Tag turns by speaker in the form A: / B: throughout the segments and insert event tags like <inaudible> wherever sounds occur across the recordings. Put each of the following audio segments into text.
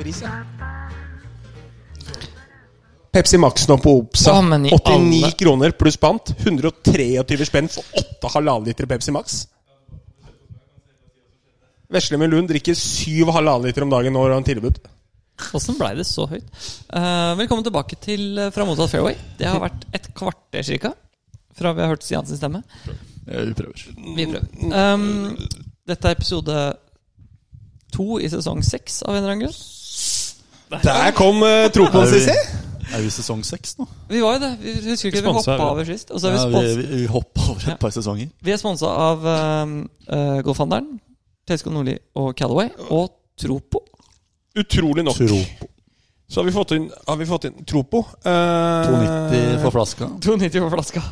A: pris, ja.
B: Pepsi Max nå på Opsa.
C: Å, men i
B: 89
C: alle-
B: kroner pluss pant. 123 spenn for 8,5 liter Pepsi Max. Veslemund Lund drikker 7,5 liter om dagen når han har tilbud.
C: Åssen blei det så høyt? Eh, velkommen tilbake til eh, Fra mottatt fairway. Det har vært et kvarter cirka fra vi har hørt Stian sin stemme.
A: Ja, Vi prøver.
C: Vi prøver. Um, dette er episode to i sesong seks av en eller annen grunn.
B: Der kom uh, tropoen,
A: Er vi-
B: Sissi!
A: Er vi i sesong seks nå?
C: Vi var jo det. Vi husker ikke vi
D: Sponset,
C: hoppa
D: ja.
C: over sist. Og så er vi,
A: Ja,
C: spons
A: vi, vi hoppa over et par sesonger.
C: vi er sponsa av um, eh, Golfhandelen, Tesco Nordli og Callaway og Tropo.
B: Utrolig nok.
A: Tropo.
B: Så har vi fått inn, har vi fått inn Tropo. eh,
A: 2,90 for flaska.
C: 290 for flaska.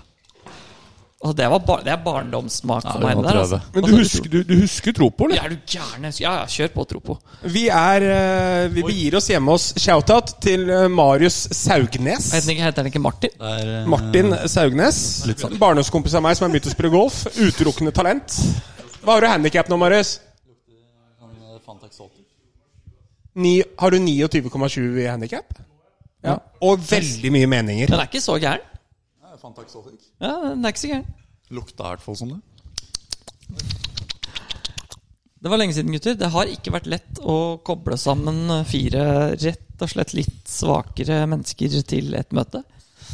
C: Og det, var bar det er barndomssmak
A: Ja,
C: for
A: vi
C: meg.
A: må
C: det der,
A: prøve.
C: altså.
B: Men du
C: Altså,
B: husker, du, du husker Tropo, eller?
C: Ja, er du gæren? Jeg husker- Ja, ja, kjør på Tropo.
B: Vi er eh, Vi begir oss hjemme hos Shoutout til eh, Marius Saugnes.
C: Heter den ikke, heter den ikke Martin?
A: Det er, eh,
B: Martin Saugnes.
C: sånn.
B: Barndomskompis av meg som har begynt å spille golf. Utelukkende talent. Hva har du handikap nå, Marius? Ni, har du 29,7 i handikap? Ja. Og veldig mye meninger.
C: Den er ikke så gæren. Ja, den er ikke så gæren.
A: Lukta i hvert fall som det.
C: Det var lenge siden, gutter. Det har ikke vært lett å koble sammen fire rett og slett litt svakere mennesker til et møte.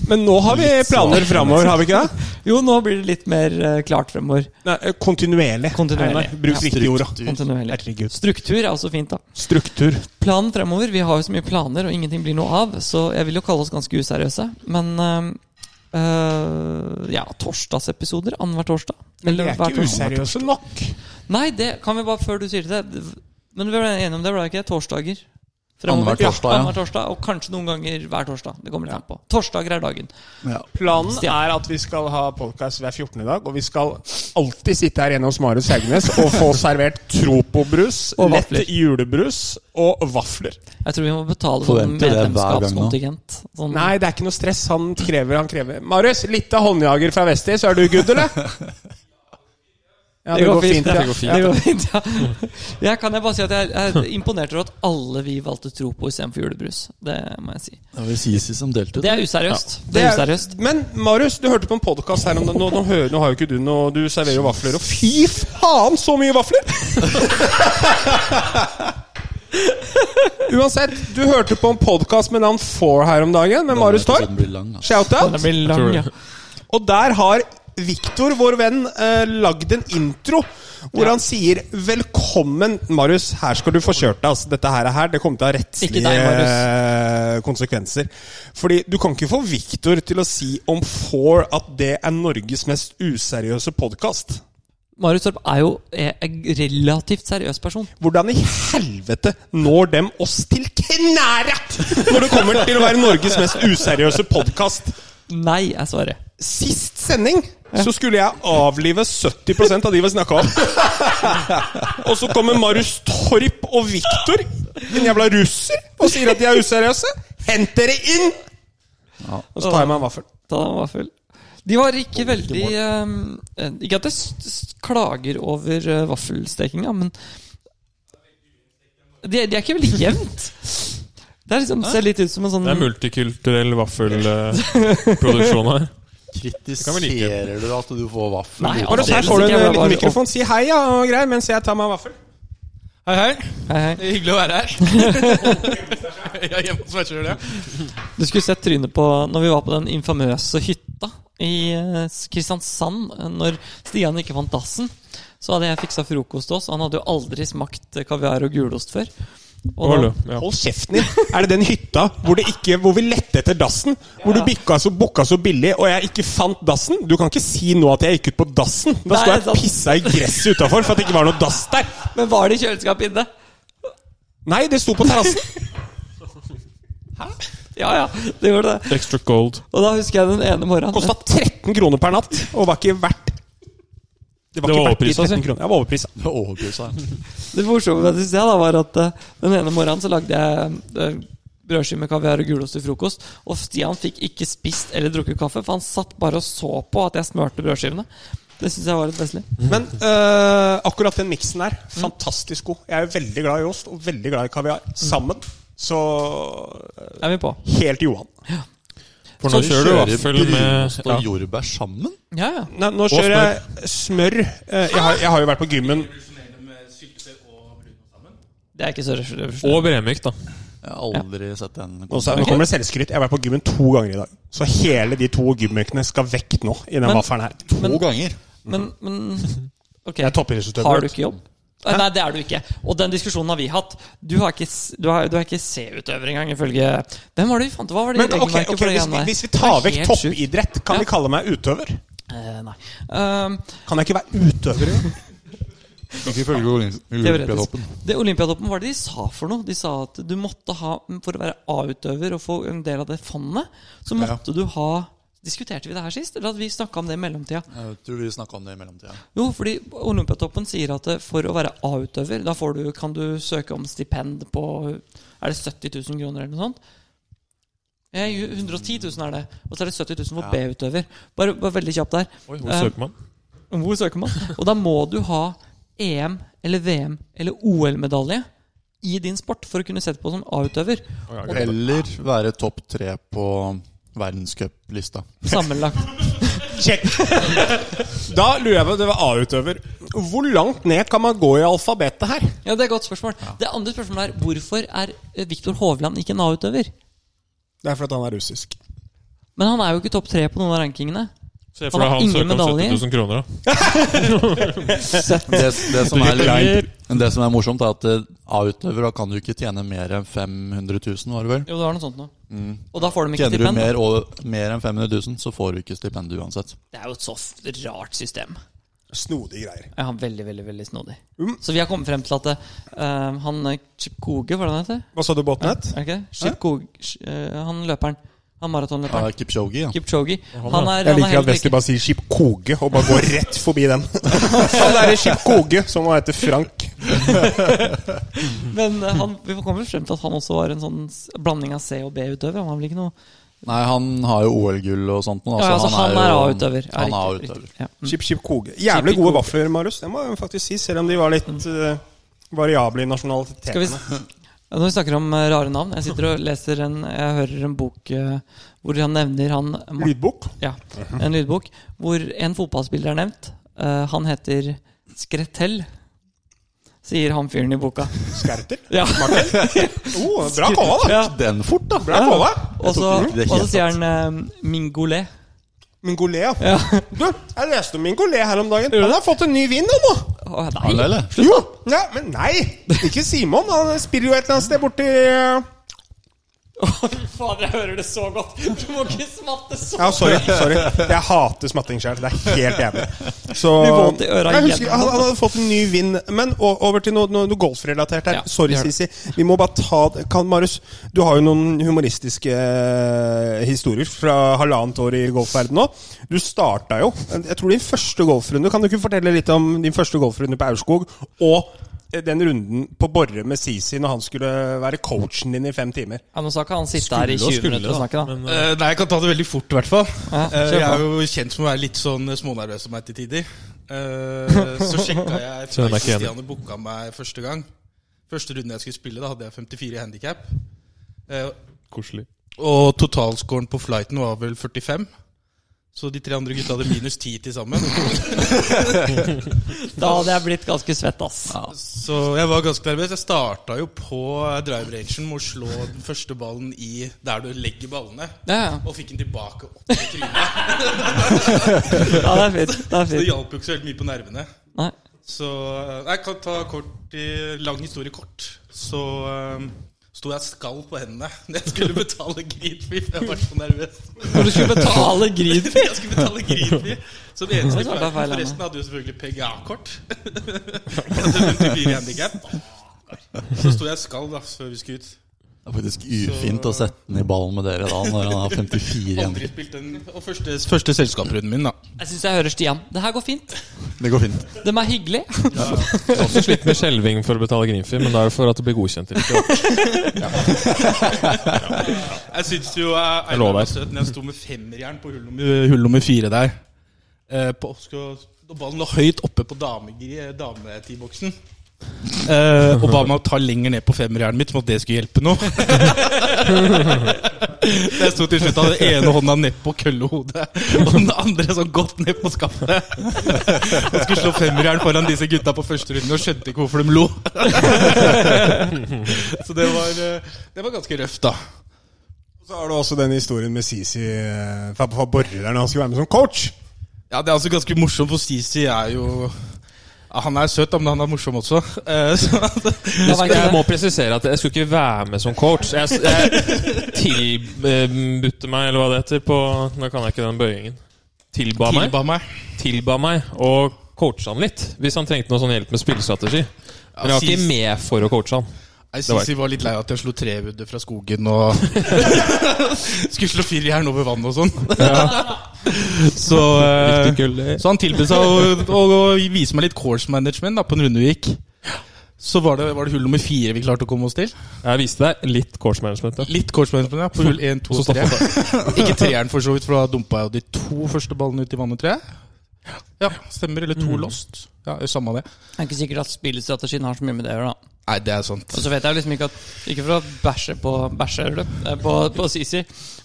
B: Men nå har vi
A: Litt
C: sånn.
B: planer
A: svak.
B: framover, har vi ikke
C: <laughs>
B: det?
C: Jo, nå blir det litt mer eh, klart fremover.
B: Nei, eh, kontinuerlig.
C: Kontinuerlig.
B: Einar, Bruk
C: Ja.
B: riktig ord, da.
C: Kontinuerlig.
B: Herregud.
C: Struktur er også fint, da.
B: Struktur.
C: Planen fremover Vi har jo så mye planer, og ingenting blir noe av, så jeg vil jo kalle oss ganske useriøse. Men eh, eh, ja, torsdagsepisoder annenhver torsdag.
B: Men vi er
C: hver
B: ikke
C: torsdag.
B: useriøse nok.
C: Nei, det kan vi bare før du sier det. Men vi ble enige om det, ble det ikke? Torsdager.
A: Annenhver torsdag, ja.
C: ja. Annenhver torsdag, Og kanskje noen ganger hver torsdag. Det kommer litt an på. Torsdager er dagen.
A: Ja.
B: Planen er at vi skal ha podkast hver 14. dag, og vi skal alltid sitte her hjemme hos Marius Haugnes og få servert tropobrus,
C: Og
B: lett
C: vafler.
B: julebrus og vafler.
C: Jeg tror vi må betale for
A: Forventer det hver gang nå.
C: medlemskapskontingent. Sånn,
B: Nei, det er ikke noe stress. Han krever, han krever. Marius, litt av håndjager fra Vesti, så er du good, eller? <laughs> Ja, det, går fint.
C: ja.
B: ja.
C: Det går fint, ja. <laughs> Jeg kan jeg bare si at jeg er imponert over at alle vi valgte tro på istedenfor julebrus. Det må jeg si.
A: Det var Sisi som delte
C: Det
A: ut.
C: er useriøst.
B: Det
C: Det er
B: er,
C: useriøst.
B: men Marius, du hørte på en podkast her om det. Nå, nå, hører, nå har jo ikke du noe Du serverer jo vafler, og fy faen, så mye <laughs> vafler! Uansett, du hørte på en podkast med navn Four her om dagen, med Marius Torp.
A: Den blir lang, altså.
C: Den
B: Shout-out.
C: blir lang, ja.
B: Og der har Viktor, vår venn, eh, lagd en intro hvor han sier 'Velkommen, Marius. Her skal du få kjørt deg.' Altså, dette her, er her det kommer til å ha
C: Ikke deg,
B: rettslige
C: Marius.
B: eh, konsekvenser. Fordi du kan ikke få Viktor til å si om Four at det er Norges mest useriøse podkast.
C: Marius Torp er jo en relativt seriøs person.
B: Hvordan i helvete når dem oss til knæret når det kommer til å være Norges mest useriøse podkast?
C: Nei, er svaret.
B: Sist sending så skulle jeg avlive 70 av de vi snakka om. <laughs> Og så kommer Marius Torp og Viktor, en jævla russer, og sier at de er useriøse. Hent dere inn! Og så tar jeg meg en vaffel.
C: Ta deg en vaffel. De var ikke veldig eh, Ikke at jeg s- s- klager over uh, vaffelstekinga, men de, er- de er ikke veldig jevnt. Det er liksom, ser litt ut som en sånn
D: Det er multikulturell vaffelproduksjon her. kan vi like.
A: Kritiserer du at du får vaffel?
C: Nei,
A: uten
C: har du
A: at-
C: sett-
B: Her får du en eh, liten mikrofon. Si hei ja, og greier, mens jeg tar meg en vaffel.
E: Hei, hei.
C: Hei, hei.
E: Det er hyggelig å være her. <laughs> Jeg er hjemme hos meg selv, ja.
C: Du skulle sett trynet på når vi var på den infamøse hytta i eh, Kristiansand. eh, Når Stian ikke fant dassen, så hadde jeg fiksa frokost til oss. og Han hadde jo aldri smakt eh, kaviar og gulost før. Og da,
D: Hold, ja.
B: Hold kjeften din! Er det den hytta hvor, det ikke, hvor vi lette etter dassen? Hvor du bikka så bukka så billig, og jeg ikke fant dassen? Du kan ikke si nå at jeg gikk ut på dassen! Da sto
C: Nei,
B: jeg og pissa i gresset utafor for at det ikke var noe dass der!
C: men var det i kjøleskapet inne?
B: Nei, det sto på terrassen!
C: Ja ja, det gjorde det.
D: Extra gold.
C: Og da husker jeg den ene morgenen
B: Kosta 13 kroner per natt, og var ikke verdt Det
D: Det var
B: verdt de
D: overprisa,
B: 13
D: si.
B: kronene. Jeg var overprisa.
A: Det overbeviste meg.
C: Det morsomme med det synes jeg da var at eh, den ene morgenen så lagde jeg uh, brødskive med kaviar og gulost til frokost. Og Stian fikk ikke spist eller drukket kaffe, for han satt bare og så på at jeg smørte brødskivene. Det syns jeg var litt festlig.
B: Men øh, akkurat den miksen der, fantastisk god. Jeg er jo veldig glad i ost og veldig glad i kaviar. Sammen. Så
C: er vi på.
B: helt Johan.
D: For nå
A: Så
D: kjører du vaffel med
A: brunost og jordbær sammen?
C: Ja, ja.
B: Nei, nå
D: smør.
B: kjører jeg smør. Eh, Jeg har, jeg har jo vært på gymmen.
C: Det er ikke så revolusjonerende.
D: Og Bremyk, da.
A: Jeg har aldri sett den.
B: Nå sa- nå kommer det selvskryt. Jeg har vært på gymmen to ganger i dag. Så hele de to gymøkene skal vekk nå i den
C: Men-
B: vaffelen her.
A: to ganger.
C: Men, men ok,
B: Jeg er toppidrettsutøver.
C: har du ikke jobb? Nei, nei, det er du ikke. Og den diskusjonen har vi hatt. Du har ikke, s- du har, du er ikke C-utøver engang, ifølge Hvem var det vi fant? Hva var det
B: Men ok,
C: regelverket
B: ok,
C: for det
B: hvis,
C: igjen
B: vi,
C: der?
B: hvis vi
C: Det
B: tar
C: var
B: vekk
C: helt sjukt.
B: toppidrett, kan
C: Ja.
B: de kalle meg utøver?
C: Eh, nei. Ehm,
B: Kan jeg ikke være utøver? engang?
A: Ikke ifølge
C: teoretisk.
A: Olympiatoppen.
C: Det Olympiatoppen, hva var det de sa for noe? De sa at du måtte ha, for å være A-utøver og få en del av det fondet, så måtte du ha Diskuterte vi det her sist, eller hadde vi snakka om det i mellomtida?
A: Jeg tror vi snakka om det i mellomtida.
C: Jo, fordi Olympiatoppen sier at eh, for å være A-utøver, da får du, kan du søke om stipend på Er det 70 000 kroner eller noe sånt? Eh, ju- 110 000 er det. Og så er det 70 000 for
A: Ja.
C: B-utøver. Bare, bare veldig kjapt der.
D: Oi,
C: Eh,
D: hvor søker man?
C: Hvor søker man? Og da må du ha EM eller VM eller OL-medalje i din sport for å kunne sette på som A-utøver.
A: Eller være topp tre på verdenscuplista.
C: Sammenlagt.
B: Check. Da lurer jeg på det var A-utøver. Hvor langt ned kan man gå i alfabetet her?
C: Ja, det er et godt spørsmål. Det andre spørsmålet er hvorfor er eh, Viktor Hovland ikke en A-utøver?
B: Det er fordi han er russisk.
C: Men han er jo ikke topp tre på noen av rankingene.
D: Se
C: Han
D: for deg
C: har
D: han
C: ingen
D: søker om
C: medaljer.
D: 70 000 kroner, da.
A: Det, det, som er litt, men det som er morsomt, er at eh, A-utøvere kan du ikke tjene mer enn 500 000, var det vel?
C: Jo, det var noe sånt nå. Og da får de ikke
A: Tjener du
C: stipend. da.
A: mer, og, mer enn 500 000, så får du ikke stipend uansett.
C: Det er jo et så f- rart system.
B: Snodige greier.
C: Ja, han er veldig, veldig veldig snodig. Så vi har kommet frem til at eh, han eh, Chipkoge, hva er det han heter?
B: Hva sa du, Båtnett?
C: Er det ikke det? Chipkoge, sh- eh, han løperen. Han maratonløperen.
A: Ja, Ah, Kipchoge, ja.
C: Kipchoge. Han er,
B: Jeg
C: han er
B: liker at
C: helt
B: Westi
C: lik.
B: bare sier 'Skipkoge' og bare går rett forbi
C: <laughs>
B: den. Han derre Skipkoge, som han heter Frank.
C: Men eh, han, vi får komme frem til at han også var en sånn s- blanding av C- og B-utøver. Han var vel ikke noe
A: Nei, han har jo OL-gull og sånt nå.
C: Ja, altså, han er
A: jo-
C: A-utøver. Ja,
A: Han er
C: riktig,
A: A-utøver.
C: riktig. Ja. Mm.
B: Skip-Skipkoge. Jævlig gode vafler, Marius. Det må jeg faktisk si, selv om de var litt eh, variable i
C: Mm. Skal vi
B: nasjonalitetene.
A: <laughs>
C: s- Ja, Når vi snakker om eh, rare navn Jeg sitter og leser en Jeg hører en bok eh, hvor han nevner han Martin
B: Lydbok.
C: Ja, en lydbok hvor en fotballspiller er nevnt. Eh, han heter Skretell, sier han fyren i
B: <laughs>
C: boka.
B: Skerter.
C: Ja, <laughs>
B: Oh, bra kåla, da!
C: ja.
A: Den fort, da!
B: Bra kåla.
C: Og så
A: Jeg tok ikke det
C: og så
A: helt
C: sier han eh, Mingolet.
B: Mingolé, ja.
C: <laughs> Ja.
B: Du, jeg leste om Mingolé her om dagen. Han har fått en ny vin, han nå!
C: Å,
A: Han,
C: nei.
A: eller?
B: Jo! Nei, men nei! Ikke Simon. Han spiller jo et eller annet sted eh, borti Ja,
C: Fy fader, jeg hører det så godt! Du må ikke smatte så
B: sorry. sorry Jeg hater smatting sjøl. Det er helt jævlig. Så
C: Blir våt i øra
B: jeg husker,
C: igjen.
B: han, han hadde fått en ny vinn. Men o- over til noe, noe, noe golfrelatert her.
C: Ja,
B: sorry,
C: gjør det.
B: Sisi. Vi må bare ta det- kan, Marius, du har jo noen humoristiske eh, historier fra halvannet år i golfverdenen nå. Du starta jo Jeg tror din første golfrunde Kan du ikke fortelle litt om din første golfrunde på Aurskog? Og eh, den runden på Borre med Sisi når han skulle være coachen din i fem timer.
C: Ja, Nå skal ikke han sitte her i 20 minutter og snakke, da.
D: Men, eh,
F: Eh, nei, jeg kan ta det veldig fort, i hvert fall.
C: Ja,
F: Eh,
C: kjør
F: jeg er
C: på.
F: jo kjent for å være litt sånn smånervøs om meg til tider.
C: <laughs>
F: Eh, så
D: Kjenner
F: sjekka jeg
D: meg ikke igjen.
F: Stian hadde booka meg første gang. Første runden jeg skulle spille, da hadde jeg 54 i handikap.
D: <laughs> Koselig.
F: og totalscoren på flighten var vel 45. Så de tre andre gutta hadde minus 10 til sammen.
C: Da hadde jeg blitt ganske svett, ass.
F: Så jeg var ganske nervøs. Jeg starta jo på drive rangen med å slå den første ballen i der du legger ballene.
C: Ja, ja.
F: Og fikk den tilbake opp i
C: <laughs>
F: trynet.
C: ja det er fint. Det er
F: Så det
C: fint.
F: hjalp jo ikke så veldig mye på nervene.
C: Nei.
F: Så eh, Jeg kan ta kort i, lang historie kort. Så um, sto jeg skalv på hendene <laughs> da jeg skulle betale Greenfee, for jeg var så nervøs.
C: Når du skulle betale grin
F: <laughs> jeg skulle betale Greenfee som eneste
C: Det var
F: klare.
C: feil,
F: Forresten hadde jo selvfølgelig PGA-kort. <laughs> Jeg hadde 54 handicap. Så sto jeg skalv da, før vi skulle ut.
A: Det er faktisk ufint å sette den i ballen med dere da, når han har 54 igjen.
F: Aldri spilt den. Og første, første selskapsrunden min, da.
C: <laughs> Jeg syns jeg hører Stian. Det her går fint.
A: Det går fint.
C: De er hyggelige.
D: Også slitt med skjelving for å betale Grimfi, men det er for at det blir <laughs> godkjent. Ikke?
F: Jeg syns jo eh,
D: Jeg lå
F: Einar var
D: der.
F: søt når jeg sto med femmerjern på hull nummer, hull nummer fire der. Eh, på Oscar, og ballen lå høyt oppe på damegri- dame-T-boksen. Eh, Obama tar lenger ned på femmerjernet mitt som at det skulle hjelpe noe. <laughs> Så jeg sto til slutt og hadde den ene hånda nedpå køllehodet og den andre sånn godt ned på skaftet. Og skulle slå femmerjern foran disse gutta på første runden og skjønte ikke hvorfor de lo. <laughs> Så det var, eh, det var ganske røft, da.
B: Så har du også den historien med Sisi eh, fra fra Borreleren. Han skulle være med som coach.
F: Ja, det er altså ganske morsomt, for Sisi er jo ja, Han er søt, da, men han er morsom også. <laughs> Eh, Så
C: La meg
D: Jeg
C: ikke
D: må
C: det.
D: presisere at jeg skulle ikke være med som coach. Jeg, jeg tilbudte meg, eller hva det heter, på Nå kan jeg ikke den bøyingen. Tilba meg.
F: tilba meg.
D: Tilba meg å coache han litt, hvis han trengte noe sånn hjelp med spillestrategi. Men jeg var ikke med for å coache han.
F: Nei,
D: var
F: Sisi var litt lei av at jeg slo trebudder fra skogen og <laughs> skulle slå firejern over vann og sånn. Så, eh, så han tilbød seg å, å, å vise meg litt course management da, på en runde vi gikk. Så var det, var det hull nummer fire vi klarte å komme oss til.
D: Jeg viste deg litt course management. Ja.
F: Litt course management ja, på hull én, to
D: Så
F: og
D: stoppet
F: tre. <laughs> Ikke treeren, for så vidt, for da dumpa jeg jo de to første ballene ut i vannet, tror jeg. Ja, stemmer. Eller to lost. Ja, Samme det.
C: Det er ikke sikkert at spillstrategien har så mye med det å gjøre. da.
F: Nei, det er sant.
C: Og så vet jeg liksom ikke at Ikke for å bæsje på bæsje, eller, eh, på, på Sisi,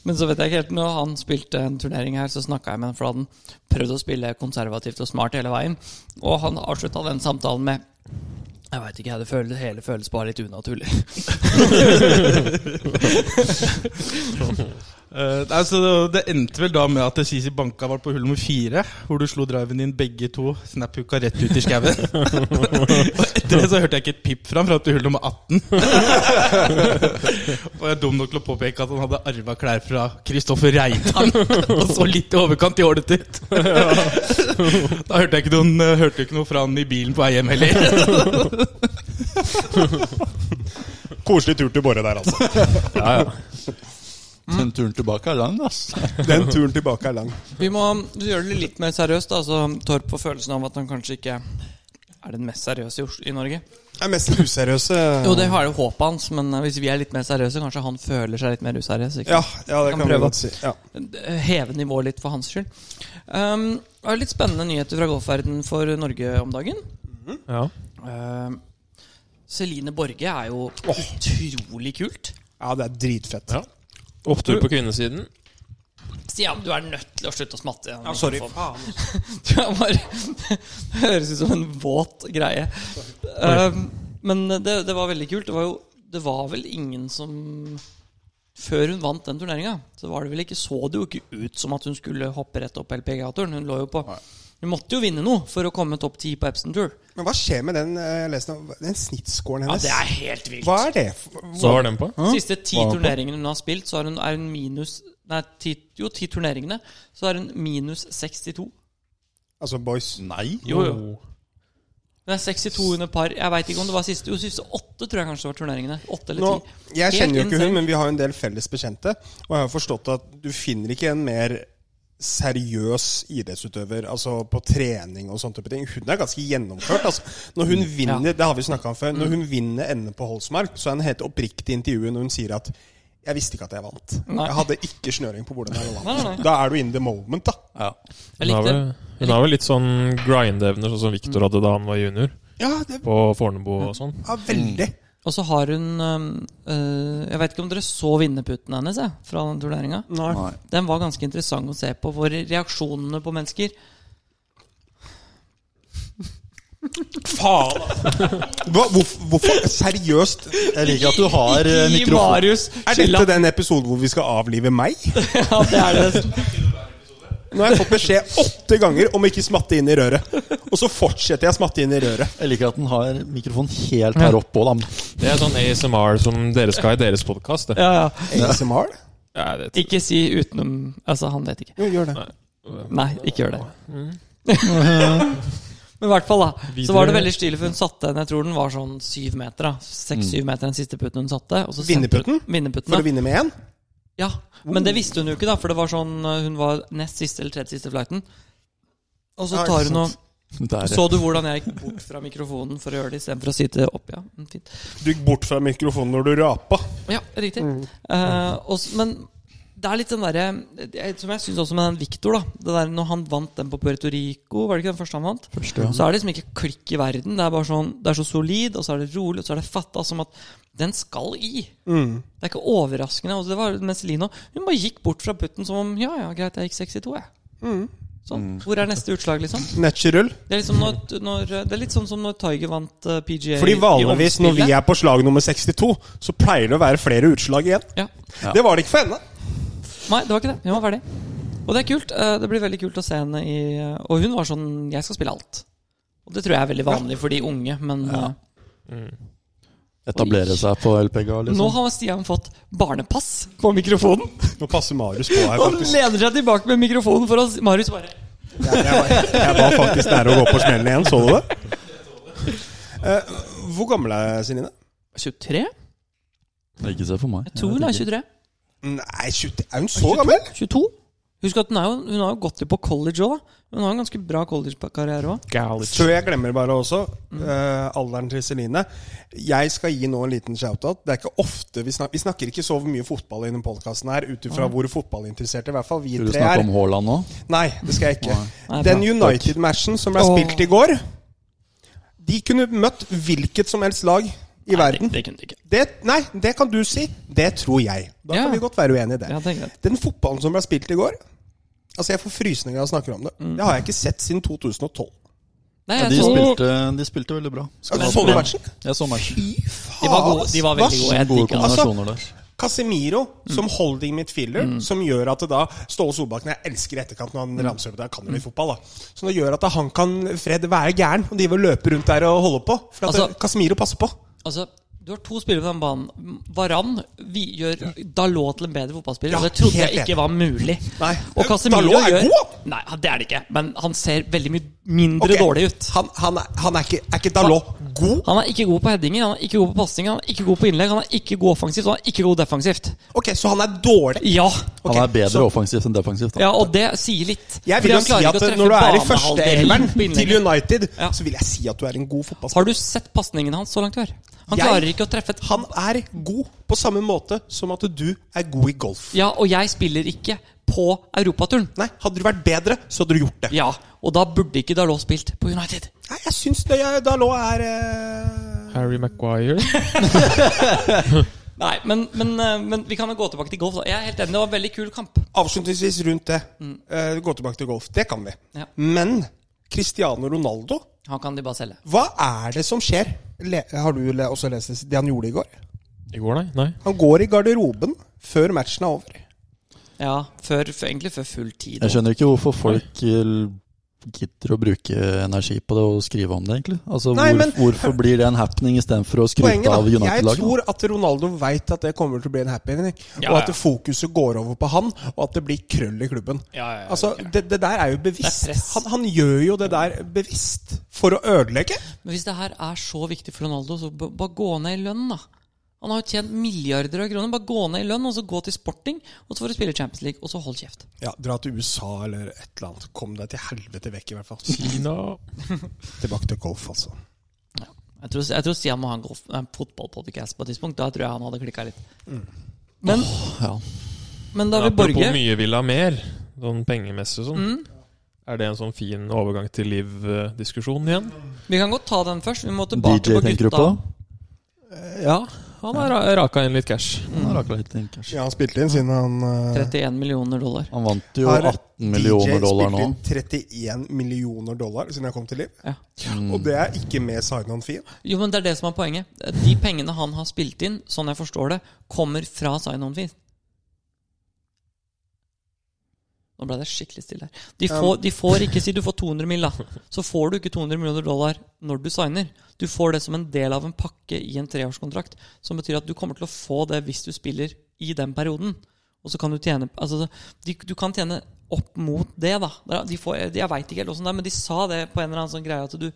C: men så vet jeg ikke helt Når han spilte en turnering her, så snakka jeg med han, for da hadde han prøvd å spille konservativt og smart hele veien. Og han avslutta den samtalen med Jeg veit ikke, jeg. Det føles, hele føles bare litt unaturlig.
F: Eh, nei, så det- det endte vel da med at Sisi Banka var på hull nummer fire, hvor du slo driven din begge to, snaphooka rett ut i skauen. og etter det så hørte jeg ikke et pip fra ham fram til hull nummer 18. og jeg er dum nok til å påpeke at han hadde arva klær fra Kristoffer Reitan og så litt i overkant jålete ut. da hørte jeg ikke, noen, eh, hørte jeg ikke noe fra han i bilen på vei hjem heller.
B: Koselig tur til Borre der, altså.
D: Ja, ja.
C: Mm.
A: Den turen tilbake er lang, ass.
B: Den turen tilbake er lang.
C: Vi må gjøre det litt mer seriøst. da, så Torp får følelsen av at han kanskje ikke er den mest seriøse i, Oslo, i Norge.
B: Det er mest useriøse
C: Jo, det har jo håpet hans, men eh, hvis vi er litt mer seriøse, kanskje han føler seg litt mer useriøs. Ikke?
B: Ja, ja, det
C: Kan
B: kan vi
C: prøve.
B: godt si. Ja.
C: heve nivået litt for hans skyld. Um, det var litt spennende nyheter fra golfverdenen for Norge om dagen.
D: Ja.
C: Um, Celine Borge er jo utrolig kult.
B: ja, det er dritfett.
D: Ja. Opptur på kvinnesiden.
C: Stian, du er nødt til å slutte å smatte. i den mikrofonen.
F: Faen.
C: <laughs> Du er bare Høres ut som en våt greie. Um, men det, det var veldig kult. Det var jo Det var vel ingen som Før hun vant den turneringa, så var det vel ikke, så det jo ikke ut som at hun skulle hoppe rett opp LPGA-turen. Hun lå jo på Hun måtte jo vinne noe for å komme topp ti på Epson Tour.
B: Men hva skjer med den, eh, jeg leste om- den snittscoren
C: Ja,
B: hennes?
C: det er helt vilt.
B: Hva er det? for-
D: Så var den på.
C: De siste ti turneringene hun har spilt, så er hun, er hun minus Nei, ti, jo, ti turneringene, så er hun minus 62.
B: Altså, boys.
A: Nei.
C: Jo, jo. Hun er 62 under par. Jeg veit ikke om det var siste. Jo, siste åtte tror jeg kanskje det var turneringene. Åtte
B: Nå,
C: eller ti.
B: jeg
C: Helt
B: kjenner jo ikke
C: insane.
B: hun, men vi har jo en del felles bekjente. Og jeg har jo forstått at du finner ikke en mer seriøs idrettsutøver altså på trening og sånne type ting. Hun er ganske gjennomført. Altså. Når
C: Mm,
B: hun vinner det har vi snakket om før, når hun vinner NM på Holsmark, så er hun helt oppriktig i intervjuet når hun sier at jeg visste ikke at jeg vant.
C: Nei.
B: Jeg hadde ikke snøring på hvordan jeg vant.
C: Nei, nei, nei.
B: Da er du in the moment, da.
A: Ja.
C: Jeg
D: Hun har
C: likte
D: vel, hun har vel litt sånn grind-evner, sånn som Victor hadde da han var junior.
B: Ja, det
D: På Fornebu og sånn.
B: er veldig.
C: Og så har hun øhm, øh, Jeg vet ikke om dere så vinnerputen hennes jeg, fra den turneringa.
B: Mm.
A: Nei.
C: Den var ganske interessant å se på, hvor reaksjonene på mennesker
B: Faen! Hva, hvorfor, hvorfor? Seriøst?
A: Jeg liker at du har eh,
C: Gi
A: mikrofon.
C: Marius
B: øh, Er
C: skylda.
B: dette den episoden hvor vi skal avlive meg?
C: <laughs> Ja, det er det.
B: Nå har jeg fått beskjed åtte ganger om å ikke smatte inn i røret. Og så fortsetter jeg å smatte inn i røret.
A: Jeg liker at den har mikrofonen helt her oppe òg, da.
D: Det er sånn ASMR som dere skal ha i deres podkast.
C: Ja, ja.
B: ASMR?
D: Ja, det tror jeg.
C: Ikke si utenom Altså, han vet ikke.
B: Jo, gjør det.
C: Nei, ikke gjør det.
B: Mm.
C: <laughs> Men i hvert fall, da. Så var det veldig stilig, for hun satte en Jeg tror den var sånn syv meter. da Seks-syv meter den siste putten hun satte. og så sendte
B: Vinnerputten?
C: hun- Vinnerputten,
B: For
C: ja.
B: å vinne med én?
C: Ja, men det visste hun jo ikke, da, for det var sånn eh, hun var nest siste eller tredje siste flighten. Og så
B: Ja,
C: tar
B: ikke
C: hun og
B: sant.
A: Der.
C: Så du hvordan jeg gikk bort fra mikrofonen for å gjøre det istedenfor å sitte opp? Ja, Mm, fint.
B: Du gikk bort fra mikrofonen når du rapa.
C: Ja, riktig. Eh, og s- men Det er litt den derre jeg- Som jeg syns også med den Victor, da. Det der når han vant den på Puerto Rico, var det ikke den første han vant? Så er det liksom ikke klikk i verden. Det er bare sånn Det er så solid, og så er det rolig, og så er det fatta som at den skal i.
B: Mm.
C: Det er ikke overraskende. Og det var Messelino. Hun bare gikk bort fra putten som om Ja, ja, greit, jeg gikk 62, jeg.
B: Mm.
C: Sånn. Hvor er neste utslag, liksom?
B: Natural.
C: Det er, liksom når, når, det er litt sånn som når Tiger vant eh, PGA
B: Fordi vanligvis
C: i
B: når vi
C: omspillet.
B: er på slag nummer 62, så pleier det å være flere utslag igjen.
C: ja.
B: Det var det ikke for henne.
C: Nei, det var ikke det. Hun var ferdig. Og det er kult. eh, Det blir veldig kult å se henne i eh, Og hun var sånn Jeg skal spille alt. Og det tror jeg er veldig vanlig for de unge, men eh,
A: Etablere seg på LPGA,
C: nå
A: liksom.
C: har Stian fått barnepass på mikrofonen.
B: Nå passer Marius på her,
C: Og
B: faktisk.
C: lener seg tilbake med mikrofonen for oss. Marius bare
B: Jeg var faktisk nære å gå på smellen igjen. Så du det? Eh, hvor gammel er Celine?
C: 23?
A: Ikke se for meg.
C: Jeg tror hun er 23.
B: Nei, 20, er hun så gammel?
C: 22? Husk at hun, er jo, hun har jo gått litt på college òg. Hun har en ganske bra collegekarriere òg.
B: Før jeg glemmer bare også, eh, alderen til Celine Jeg skal gi nå en liten shout-out. Det er ikke ofte vi snakker Vi snakker ikke så mye fotball i denne podkasten her, ut ifra hvor fotballinteresserte i hvert fall vi
A: Skal du
B: tre
A: snakke
B: er.
A: om Haaland nå?
B: Nei, det skal jeg ikke.
C: Nei,
B: Den
C: bra.
B: United-matchen som ble
C: Åh.
B: spilt i går De kunne møtt hvilket som helst lag i verden.
C: Det kunne de ikke.
B: Det, nei, det kan du si. Det tror jeg. Da
C: Ja.
B: kan vi godt være uenige i det.
C: Ja, det er greit.
B: Den fotballen som ble spilt i går Altså, jeg får frysninger av å snakke om det.
C: Mm.
B: Det har jeg ikke sett siden 2012.
C: Nei,
A: Ja,
C: jeg
A: de,
C: så-
A: spilte, de spilte veldig bra. Skal
B: Altså,
A: ha
B: så du
A: tre.
B: matchen?
A: Jeg så matchen.
B: Fy faen!
C: De var gode. De var veldig gode. Mm. Jeg
A: Gode
C: digger han.
B: Altså-
A: kombinasjoner der.
B: Casemiro som holding midfielder,
C: Mm.
B: som gjør at det da Ståle Solbakken Jeg elsker i etterkant når han ramser opp det, han kan jo
C: Mm.
B: litt fotball, da. Så det gjør at han kan Fred være gæren og drive og løpe rundt der og holde på. For at
C: Altså-
B: Casemiro passer på.
C: Altså, du har to spillere på den banen. Varan vi gjør Dalot til en bedre fotballspiller. og det trodde
B: helt
C: jeg
B: enig.
C: ikke var mulig.
B: Nei.
C: Og Casemiro
B: Dalot er
C: gjør-
B: god,
C: Nei, det er det ikke. Men han ser veldig mye mindre
B: Ok.
C: dårlig ut.
B: Han, han, er, han er ikke Er ikke Dalot god?
C: Han er ikke god på headinger, han er ikke god på pasninger, han er ikke god på innlegg, han er ikke god offensivt, og han er ikke god defensivt.
B: Ok, så han er dårlig.
C: Ja,
B: Ok,
A: Han er bedre
B: så-
A: offensivt enn defensivt. da.
C: ja og det sier litt.
B: Jeg
C: Fordi
B: vil jo
C: han
B: si at
C: klarer ikke å
B: når
C: treffe
B: du er i
C: banehalvdelen
B: førsteelveren
C: på innlegget.
B: til United,
C: Ja.
B: så vil jeg si at du er en god fotballspiller.
C: Har du sett pasningene hans så langt i år? Han
B: Jeg-
C: klarer ikke å treffe et
B: Han er god på samme måte som at du er god i golf.
C: Ja, og jeg spiller ikke på europaturen.
B: Nei, Hadde du vært bedre, så hadde du gjort det.
C: Ja, og da burde ikke Dalot spilt på United.
B: Nei, jeg syns det jeg, Dalot er eh,
D: Harry Maguire.
C: Nei, men, men, eh, men vi kan jo gå tilbake til golf. da. Jeg er helt enig, det var en veldig kul kamp.
B: Avslutningsvis rundt det. Eh, gå tilbake til golf. Det kan vi.
C: Mm. Ja.
B: Men Cristiano Ronaldo,
C: Han kan de bare selge.
B: hva er det som skjer? Le har du le også lest det han gjorde i går?
D: I går, nei? nei.
B: Han går i garderoben før matchen er over.
C: Ja, før, før, egentlig før full tid.
A: Jeg skjønner ikke hvorfor folk eh, gidder å bruke energi på det og skrive om det, egentlig. Altså,
B: Nei,
A: hvor,
B: men-
A: hvorfor blir det en happening istedenfor å skryte
B: Poenget
A: av
B: da, jeg
A: United-laget?
B: tror at Ronaldo veit at det kommer til å bli en happening.
C: Ja,
B: og at
C: ja.
B: fokuset går over på han, og at det blir krøll i klubben.
C: Ja, ja, ja,
B: altså, det, det der er jo bevisst.
C: Det er press.
B: han, han gjør jo det der bevisst for å ødelegge.
C: Men hvis det her er så viktig for Ronaldo, så b- bare gå ned i lønn, da. Han har jo tjent milliarder av kroner. Bare gå ned i lønn, og så gå til sporting, og så får du spille Champions League, og så hold kjeft.
B: Ja, Dra til USA eller et eller annet. Kom deg til helvete vekk, i hvert fall.
D: Kina.
B: Tilbake til golf, altså.
C: Jeg tror, jeg tror Stian må ha en, golf- en fotballpodcast på et tidspunkt. Da tror jeg han hadde klikka litt. Men,
A: Mm. ja.
C: men da vil
D: Apropos
C: Borge
D: mye vil ha mer, sånn pengemessig og sånn. Er det en sånn fin overgang til Liv-diskusjonen igjen?
C: Vi kan godt ta den først. Vi må tilbake
A: DJ
C: på
A: tenker du
C: gutta.
A: på?
D: Ja. Han har ra- raka inn litt cash.
A: Han, rakk litt inn, kanskje.
B: Ja, han spilte inn siden han eh,
C: 31 millioner dollar.
A: han vant jo
B: har
A: 18 millioner
B: DJ
A: dollar nå.
B: spilte inn 31 millioner dollar siden jeg kom til liv.
C: Ja.
A: Mm.
B: Og det er ikke med sign-on-fee.
C: Jo, men det er det som er poenget. De pengene han har spilt inn, sånn jeg forstår det, kommer fra sign-on-fee. Nå ble det skikkelig stille her. De får, de får ikke Si du får 200 mill., da. Så får du ikke 200 millioner dollar når du signer. Du får det som en del av en pakke i en treårskontrakt. Som betyr at du kommer til å få det hvis du spiller i den perioden. Og så kan du tjene altså, de, Du kan tjene opp mot det, da. Det er- De får, jeg veit ikke helt åssen det er, men de sa det på en eller annen sånn greie at du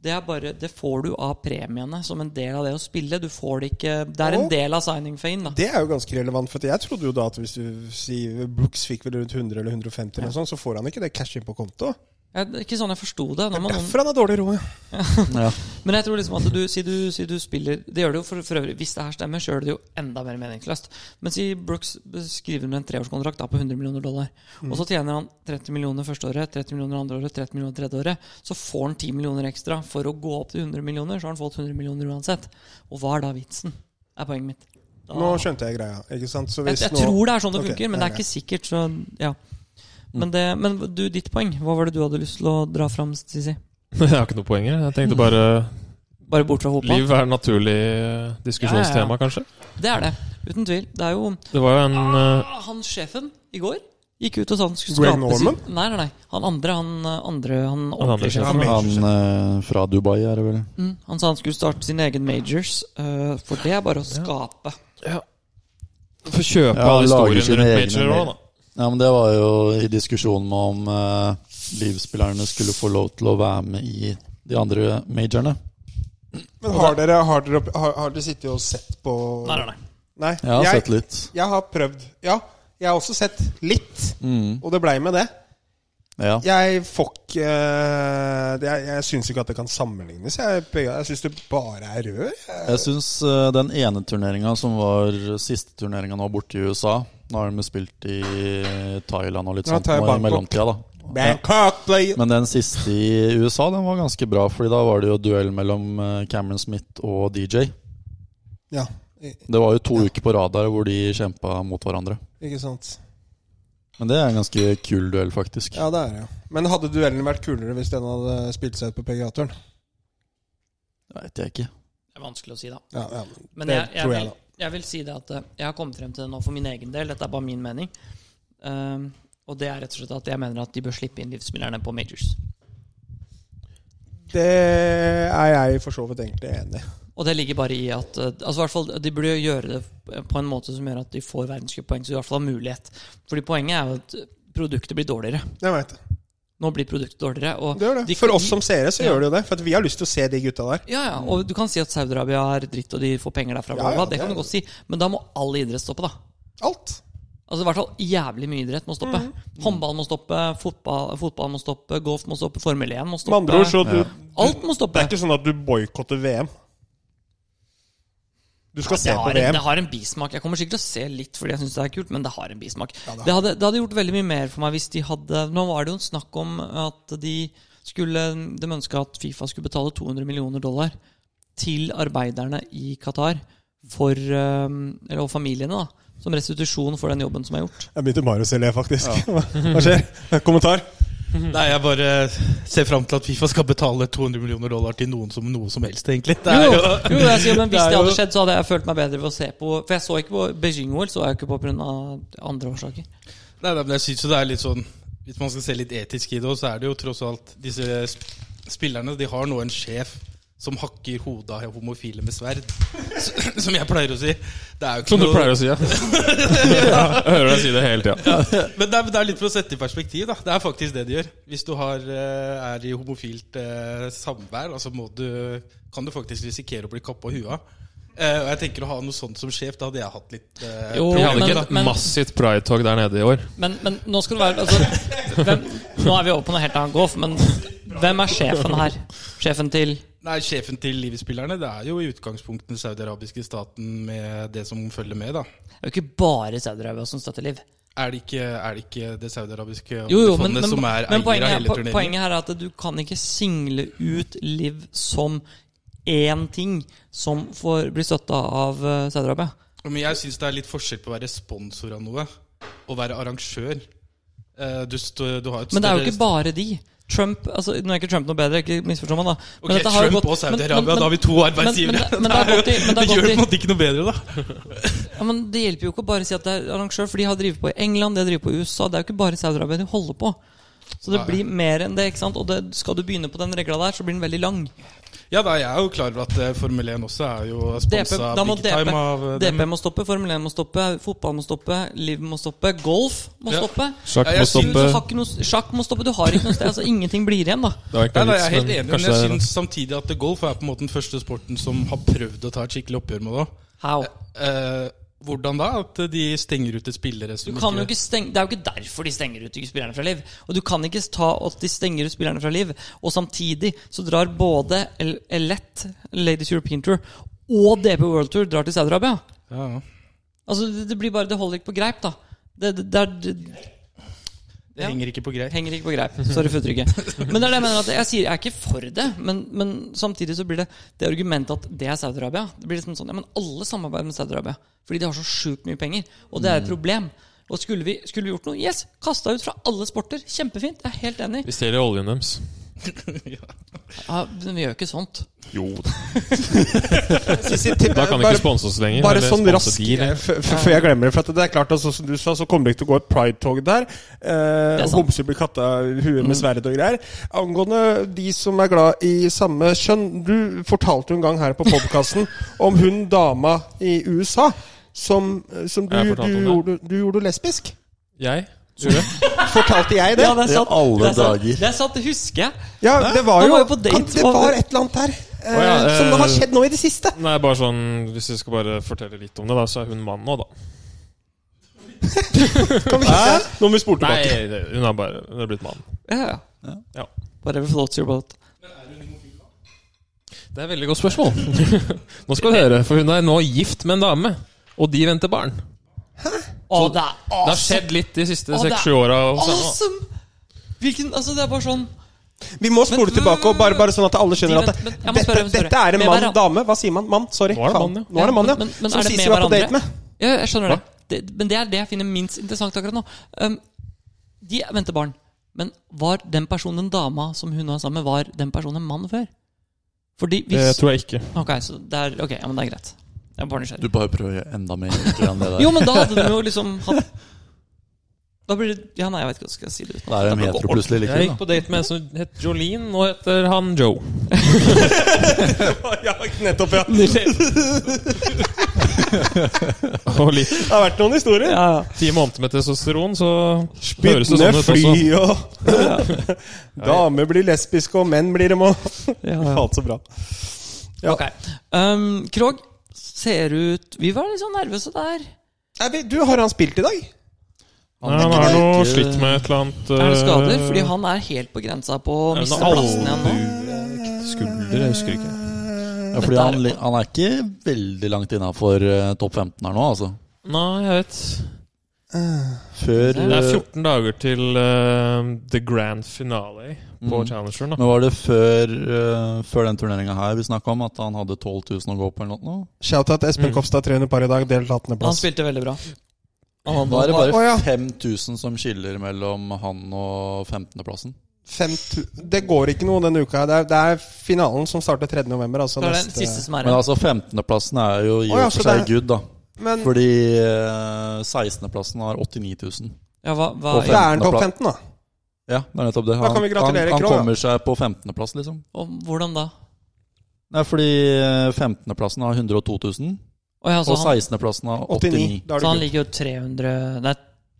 C: det, er bare, det får du av premiene som en del av det å spille. Du får det ikke Det er en
B: Å.
C: del av signing fee da.
B: Det er jo ganske relevant, for jeg trodde jo sånn, da at hvis du sier Brooks fikk vel rundt 100 eller 150 eller noe sånt, så får han ikke det cash inn på konto.
C: Jeg, det er ikke sånn jeg forsto det. Når man,
B: Derfor han har dårlig råd.
A: Ja.
C: men jeg tror liksom at du, si du, si du spiller Det gjør det jo for, for øvrig. Hvis det her stemmer, så gjør det det jo enda mer meningsløst. Men si Brooks skriver under en treårskontrakt da på 100 millioner dollar. Og så tjener han 30 millioner første året, 30 millioner andre året, 30 millioner tredje året. Så får han 10 millioner ekstra for å gå opp til 100 millioner. Så har han fått 100 millioner uansett. Og hva er da vitsen? Er poenget mitt. Da-
B: Nå skjønte jeg greia. ikke sant? Så
C: jeg,
B: hvis
C: jeg
B: nå-
C: tror det er sånn det
B: Ok,
C: funker, men det er
B: greit.
C: ikke sikkert. Så, ja. Men, det, men du, ditt poeng, hva var det du hadde lyst til å dra fram? Sisi?
D: <laughs> Jeg har ikke noe poeng her. Jeg tenkte bare
C: Bare bort fra hopa?
D: Liv er et naturlig eh, diskusjonstema, kanskje.
C: Det er det. Uten tvil. Det er jo
D: Det var jo en eh,
C: Ah, Han sjefen i går gikk ut og sa han skulle
B: Greg
C: skape
B: Norman?
C: sin- Nei, nei, nei. Han andre, han eh, andre, han
D: andre
C: ordentlige
D: sjefen.
C: sjefen.
A: Han eh, fra Dubai, er det vel?
C: Mm, han sa han skulle starte sin egen majors, eh, for det er bare å skape.
D: Få kjøpe
A: Ja,
D: alle
A: lager
D: historiene
A: sine
D: rundt
A: egne
D: Major
A: mer.
D: òg, da.
A: Ja, men Det var jo i diskusjonen om eh, livspillerne skulle få lov til å være med i de andre majorene.
B: Men har dere, har, dere, opp- har, har dere sittet og sett på
C: Nei, nei, nei.
B: Nei,
A: Jeg har
B: jeg,
A: sett litt.
B: jeg har prøvd. Ja, jeg har også sett litt,
A: Mm,
B: og det blei med det.
A: ja.
B: Jeg får ikke eh, det- Jeg, jeg syns ikke at det kan sammenlignes. Jeg, jeg syns det bare er rør.
A: Jeg syns eh, den ene turneringa som var siste turneringa nå borte i USA Nå har de spilt i Thailand og litt
B: Ja,
A: sånt
B: Thai-
A: nå i
B: Bangkok.
A: mellomtida, da.
B: Bangkok play
A: Men den siste i USA den var ganske bra, Fordi da var det jo duell mellom eh, Cameron Smith og DJ.
B: Ja,
A: Det var jo to uker på rad der hvor de kjempa mot hverandre.
B: ikke sant.
A: Men det er en ganske kul duell, faktisk.
B: Ja, det er det. ja. Men hadde duellen vært kulere hvis den hadde spilt seg ut på PGA-turen?
A: Det veit jeg ikke.
C: Det er vanskelig å si, da.
B: Ja, ja.
C: Men
B: Det
C: jeg, jeg,
B: tror jeg,
C: vil, jeg vil si det at eh, jeg har kommet frem til det nå for min egen del. Dette er bare min mening. Ehm, og det er rett og slett at jeg mener at de bør slippe inn livsspillerne på majors.
B: Det er jeg for så vidt egentlig enig i.
C: Og det ligger bare i at eh, altså i hvert fall, De burde jo gjøre det på en måte som gjør at de får verdenscuppoeng, så de i hvert fall har mulighet. Fordi poenget er jo at produktet blir dårligere.
B: Jeg vet det.
C: Nå blir produktet dårligere. Og
B: det, gjør det.
C: de-
B: For oss som seere så
C: Ja.
B: gjør det jo det. For at vi har lyst til å se de gutta der.
C: ja, ja, og du kan si at Saudi-Arabia er dritt, og de får penger
B: Ja,
C: derfra. bla, bla, bla.
B: ja,
C: det
B: det
C: kan
B: er-
C: du godt si. Men da må all idrett stoppe, da.
B: Alt.
C: Altså i hvert fall Jævlig mye idrett må stoppe.
B: Mhm.
C: Mm. Håndball må stoppe, fotball, fotball må stoppe, golf må stoppe, Formel 1 må stoppe.
B: Med andre ord så du,
C: Alt må
B: Det
C: stoppe.
B: er ikke sånn at du boikotter VM. Du skal
C: det,
B: se på
C: har en,
B: VM.
C: det har en bismak. Jeg kommer sikkert til å se litt fordi jeg syns det er kult, men det har en bismak.
B: det har
C: det, hadde, det hadde gjort veldig mye mer for meg hvis de hadde Nå var det jo en snakk om at de skulle De ønska at Fifa skulle betale 200 millioner dollar til arbeiderne i Qatar for eh, Eller og familiene, da. Som restitusjon for den jobben som er gjort.
B: Jeg begynte bare å se le, faktisk. Hva, <laughs> hva skjer? Kommentar?
F: Nei, jeg bare ser fram til at Fifa skal betale 200 millioner dollar til noen som noe som helst, egentlig. Det er
C: Jo,
F: jo
C: jo, jeg sier, men
F: Det
C: Hvis
F: er
C: det hadde
F: jo-
C: skjedd, så hadde jeg følt meg bedre ved å se på For jeg så ikke på Beijing-OL, så jeg ikke på pga. andre årsaker.
F: Nei, nei, men jeg synes jo det er litt sånn Hvis man skal se litt etisk i det, også, så er det jo tross alt disse sp- spillerne De har nå en sjef som hakker hodet av homofile med sverd. <laughs> S- Som jeg pleier å si. Det er jo ikke
D: Som du
F: noe-
D: pleier å si, ja.
F: <laughs>
D: Jeg hører deg si det hele tida.
F: Men det er, det er litt for å sette i perspektiv, da. Det er faktisk det de gjør. Hvis du har, eh, er i homofilt eh, samvær, altså må du, kan du faktisk risikere å bli kappa huet av. Eh, og jeg tenker å ha noe sånt som sjef, da hadde jeg hatt litt eh,
C: Jo,
D: Vi
F: problemer,
D: hadde ikke
F: da.
D: et
C: men-
D: massivt pride-tog der nede i år.
C: Men, men nå skal du være altså, hvem, Nå er vi over på noe helt annet golf, men hvem er sjefen her? Sjefen til
F: Nei, Sjefen til livsspillerne det er jo i utgangspunktet den saudiarabiske staten med det som følger med. da.
C: Det er jo ikke bare Saudi-Arabia som støtter Liv.
F: Er det ikke, er det, ikke det saudiarabiske
C: Jo, jo, men,
F: fondet
C: men,
F: som er
C: men
F: eier av
C: poenget, er,
F: hele
C: po-
F: turneringen?
C: poenget her er at du kan ikke single ut Liv som én ting som får bli støtta av eh, Saudi-Arabia.
F: Men jeg syns det er litt forskjell på å være sponsor av noe og være arrangør. Eh, Du, stå- du har et
C: Men det er jo
F: større-
C: ikke bare de. Trump, altså Nå er ikke Trump noe bedre, ikke misforstå meg, da. Men
F: Ok,
C: dette har jo
F: Trump
C: gått-
F: og
C: men- men-
F: Saudi-Arabia, da har vi to arbeidsgivere. <laughs>
C: Men, men, men det har gått i, men det
F: det
C: har
F: gjør
C: gått
F: det
C: i
F: på en måte ikke noe bedre, da.
C: Ja, men Det hjelper jo ikke å bare si at det er arrangør, for de har drevet på i England, de har drevet på i USA. Det er jo ikke bare Saudi-Arabia de holder på. Så det
F: Nei.
C: blir mer enn det. ikke sant? Og det, skal du begynne på den regla der, så blir den veldig lang.
F: Ja, da, jeg er jo klar over at eh, Formel 1 også er jo
C: DP,
F: sponsa
C: da må
F: big
C: DP,
F: time av eh,
C: DP
F: dem.
C: må stoppe, Formel 1 må stoppe, fotball må stoppe, liv må stoppe, golf må
F: Ja.
C: stoppe.
D: Sjakk
F: Ja,
D: må
F: jeg synes-
C: Du, du
D: stoppe.
C: har ikke noe, sjakk må stoppe, du har ikke noe sted. altså Ingenting blir igjen, da.
D: Det var ikke noe
F: Nei, nei,
D: vits,
F: jeg er helt
D: men
F: enig, men
D: kanskje
F: jeg
D: det er-
F: syns samtidig at golf er på en måte den første sporten som har prøvd å ta et skikkelig oppgjør med det.
C: How?
F: Eh, Hvordan da? At de stenger ute spillere
C: Du
F: som
C: kan jo ikke stenge, det er jo ikke derfor de stenger ut ikke spillerne fra Liv. Og du kan ikke ta at de stenger ut spillerne fra Liv, og samtidig så drar både El- Elett, Ladies European Tour, og DP World Tour drar til Saudi-Arabia.
F: ja, ja.
C: Altså, det, det blir bare, det holder ikke på greip, da. Det, det, det, er- det
F: Det
C: Ja.
F: henger ikke på greip.
C: henger ikke på greip. <laughs> Sorry for uttrykket. Men det er det jeg mener at jeg sier, jeg er ikke for det, men, men samtidig så blir det det argumentet at det er Saudi-Arabia. Det blir liksom sånn, ja, men alle samarbeider med Saudi-Arabia, fordi de har så sjukt mye penger, og det er et problem. Og skulle vi, skulle vi gjort noe? Yes! Kasta ut fra alle sporter. Kjempefint. Jeg er helt enig.
D: Vi stjeler oljen deres.
C: Ja, men vi gjør ikke sånt.
D: Jo
B: Da
D: Da kan de ikke sponse oss lenger.
B: Bare
D: eller
B: sånn
D: sponse
B: raskt,
D: de, eller?
B: eh, f- f- før jeg glemmer det. For at det er klart at sånn som du sa, så kommer det ikke til å gå et Pride-tog der. Eh,
C: Det er sant.
B: Homser blir katta i huet med sverd og greier. Angående de som er glad i samme kjønn. Du fortalte jo en gang her på podkasten <laughs> om hun dama i USA som, som du,
D: Jeg
B: du,
D: fortalte om det.
B: gjorde, du gjorde lesbisk.
D: Jeg? Gjorde jeg?
B: Fortalte jeg Sånn. det?
C: Ja, det er sant.
A: alle
C: det er sant.
A: dager.
C: Det er sant, det husker jeg.
B: Ja, det var
C: Han
B: jo
C: var jo på date,
B: kan- Det
C: var-
B: var et eller annet her eh,
D: Å ja,
B: som
D: eh,
B: har skjedd nå i det siste.
D: Nei, bare sånn Hvis jeg skal bare fortelle litt om det, da, så er hun mann nå, da.
B: Kan vi ikke Nå må vi spole
D: Nei, det- hun er bare Hun er blitt mann.
C: Ja, ja.
D: Ja.
C: Whatever floats your boat.
D: Det er et veldig godt <laughs> spørsmål. nå skal du høre, for hun er nå gift med en dame. Og de venter barn.
C: Å, det er
D: Det har skjedd litt de siste
C: Å, det er
D: seks-sju åra.
C: awesome! Hvilken, altså, det er bare sånn
B: Vi må spole tilbake, og bare, bare sånn at alle skjønner at
C: Men-
B: det,
C: men jeg må
B: dette,
C: spørre, jeg må spørre.
B: dette er en
C: Med
B: mann,
C: hverandre-
B: dame. Hva sier man? Mann, sorry.
D: Nå er det
B: Faen.
D: mann, ja.
B: Nå er det mann, ja.
C: Men- men
B: Som
C: er det
B: Sisi
C: med
B: var på date
C: hverandre?
B: med.
C: Ja, jeg skjønner det. det. Men det er det jeg finner minst interessant akkurat nå. Um, de venter barn. Men var den personen den dama som hun var sammen med, var den personen en mann før? Fordi hvis
D: tror jeg ikke.
C: Ok, så det er, ok, ja, men det er greit. Jeg er bare nysgjerrig.
A: Du bare prøver enda mer egentlig enn det der.
C: Jo, men da hadde de jo liksom hatt Da blir det Ja, nei, jeg vet ikke hva jeg skal si det uten.
A: Da er de hetero plutselig
D: Jeg
A: likevel.
D: gikk
A: da.
D: på date med en som het Jolene. Nå heter han <laughs> Joe.
B: Ja, nettopp, ja.
D: Og litt
B: Det har vært noen historier.
C: Ja, ja.
D: ti måneder med testosteron, så høres det
B: Byttende
D: sånn ut
B: fly
D: også. <laughs>
B: og <laughs> Damer blir lesbiske, og menn blir dem òg.
C: ja, ja.
B: Alt så bra. Ja.
C: Ok. Um, Krog, ser ut Vi var litt sånn nervøse der.
B: Nei, vi- Du, har han spilt i dag?
D: Nei, han har noe slitt med et eller annet
C: Er det skader?
D: eh,
C: Fordi han er helt på grensa på å
D: Er det
C: miste
D: noe
C: plassen igjen nå.
D: albue- Skulder, jeg husker ikke.
A: Ja, fordi han, li- han er ikke veldig langt innafor topp 15 her nå, altså.
D: Nei, jeg vet.
A: Før
D: Det er
A: eh,
D: 14 dager til eh, the grand finale på
C: Mm.
D: Challengeren. da
A: Men var det før, eh, før den turneringa her vi snakka om, at han hadde 12 000 å gå på eller noe?
B: Shout-out Espen Kopstad, 300 par i dag, delt 18.
C: Mm. Han
B: plass.
C: spilte veldig bra.
A: Da er det
B: Å, ja.
A: bare 5000 som skiller mellom han og 15.-plassen.
B: Fem tu- Det går ikke noe denne uka. her. Det er, det er finalen som starter 3. november. Altså
C: Så er det den
B: neste-
C: siste som er
A: Men
C: igjen.
A: altså, 15.-plassen er jo
B: Å,
A: i
B: ja,
A: og for
B: så
A: seg
B: det
A: good, da.
B: Men
A: Fordi eh, 16.-plassen har 89 000.
C: Ja, hva, hva,
A: Og
B: det er en topp
A: plass.
B: 15, da.
A: Ja, det er nettopp det.
B: Da kan vi gratulere
A: han, han
B: Krog, da.
A: kommer seg på 15.-plass, liksom.
C: og hvordan da?
A: Nei, fordi 15.-plassen har 102 000,
C: Å ja, så,
A: og
C: Altså, han,
A: 16.-plassen har
B: 89.
A: 89
B: Da er
C: så
B: du
C: han
B: good.
C: ligger jo 300 Nei,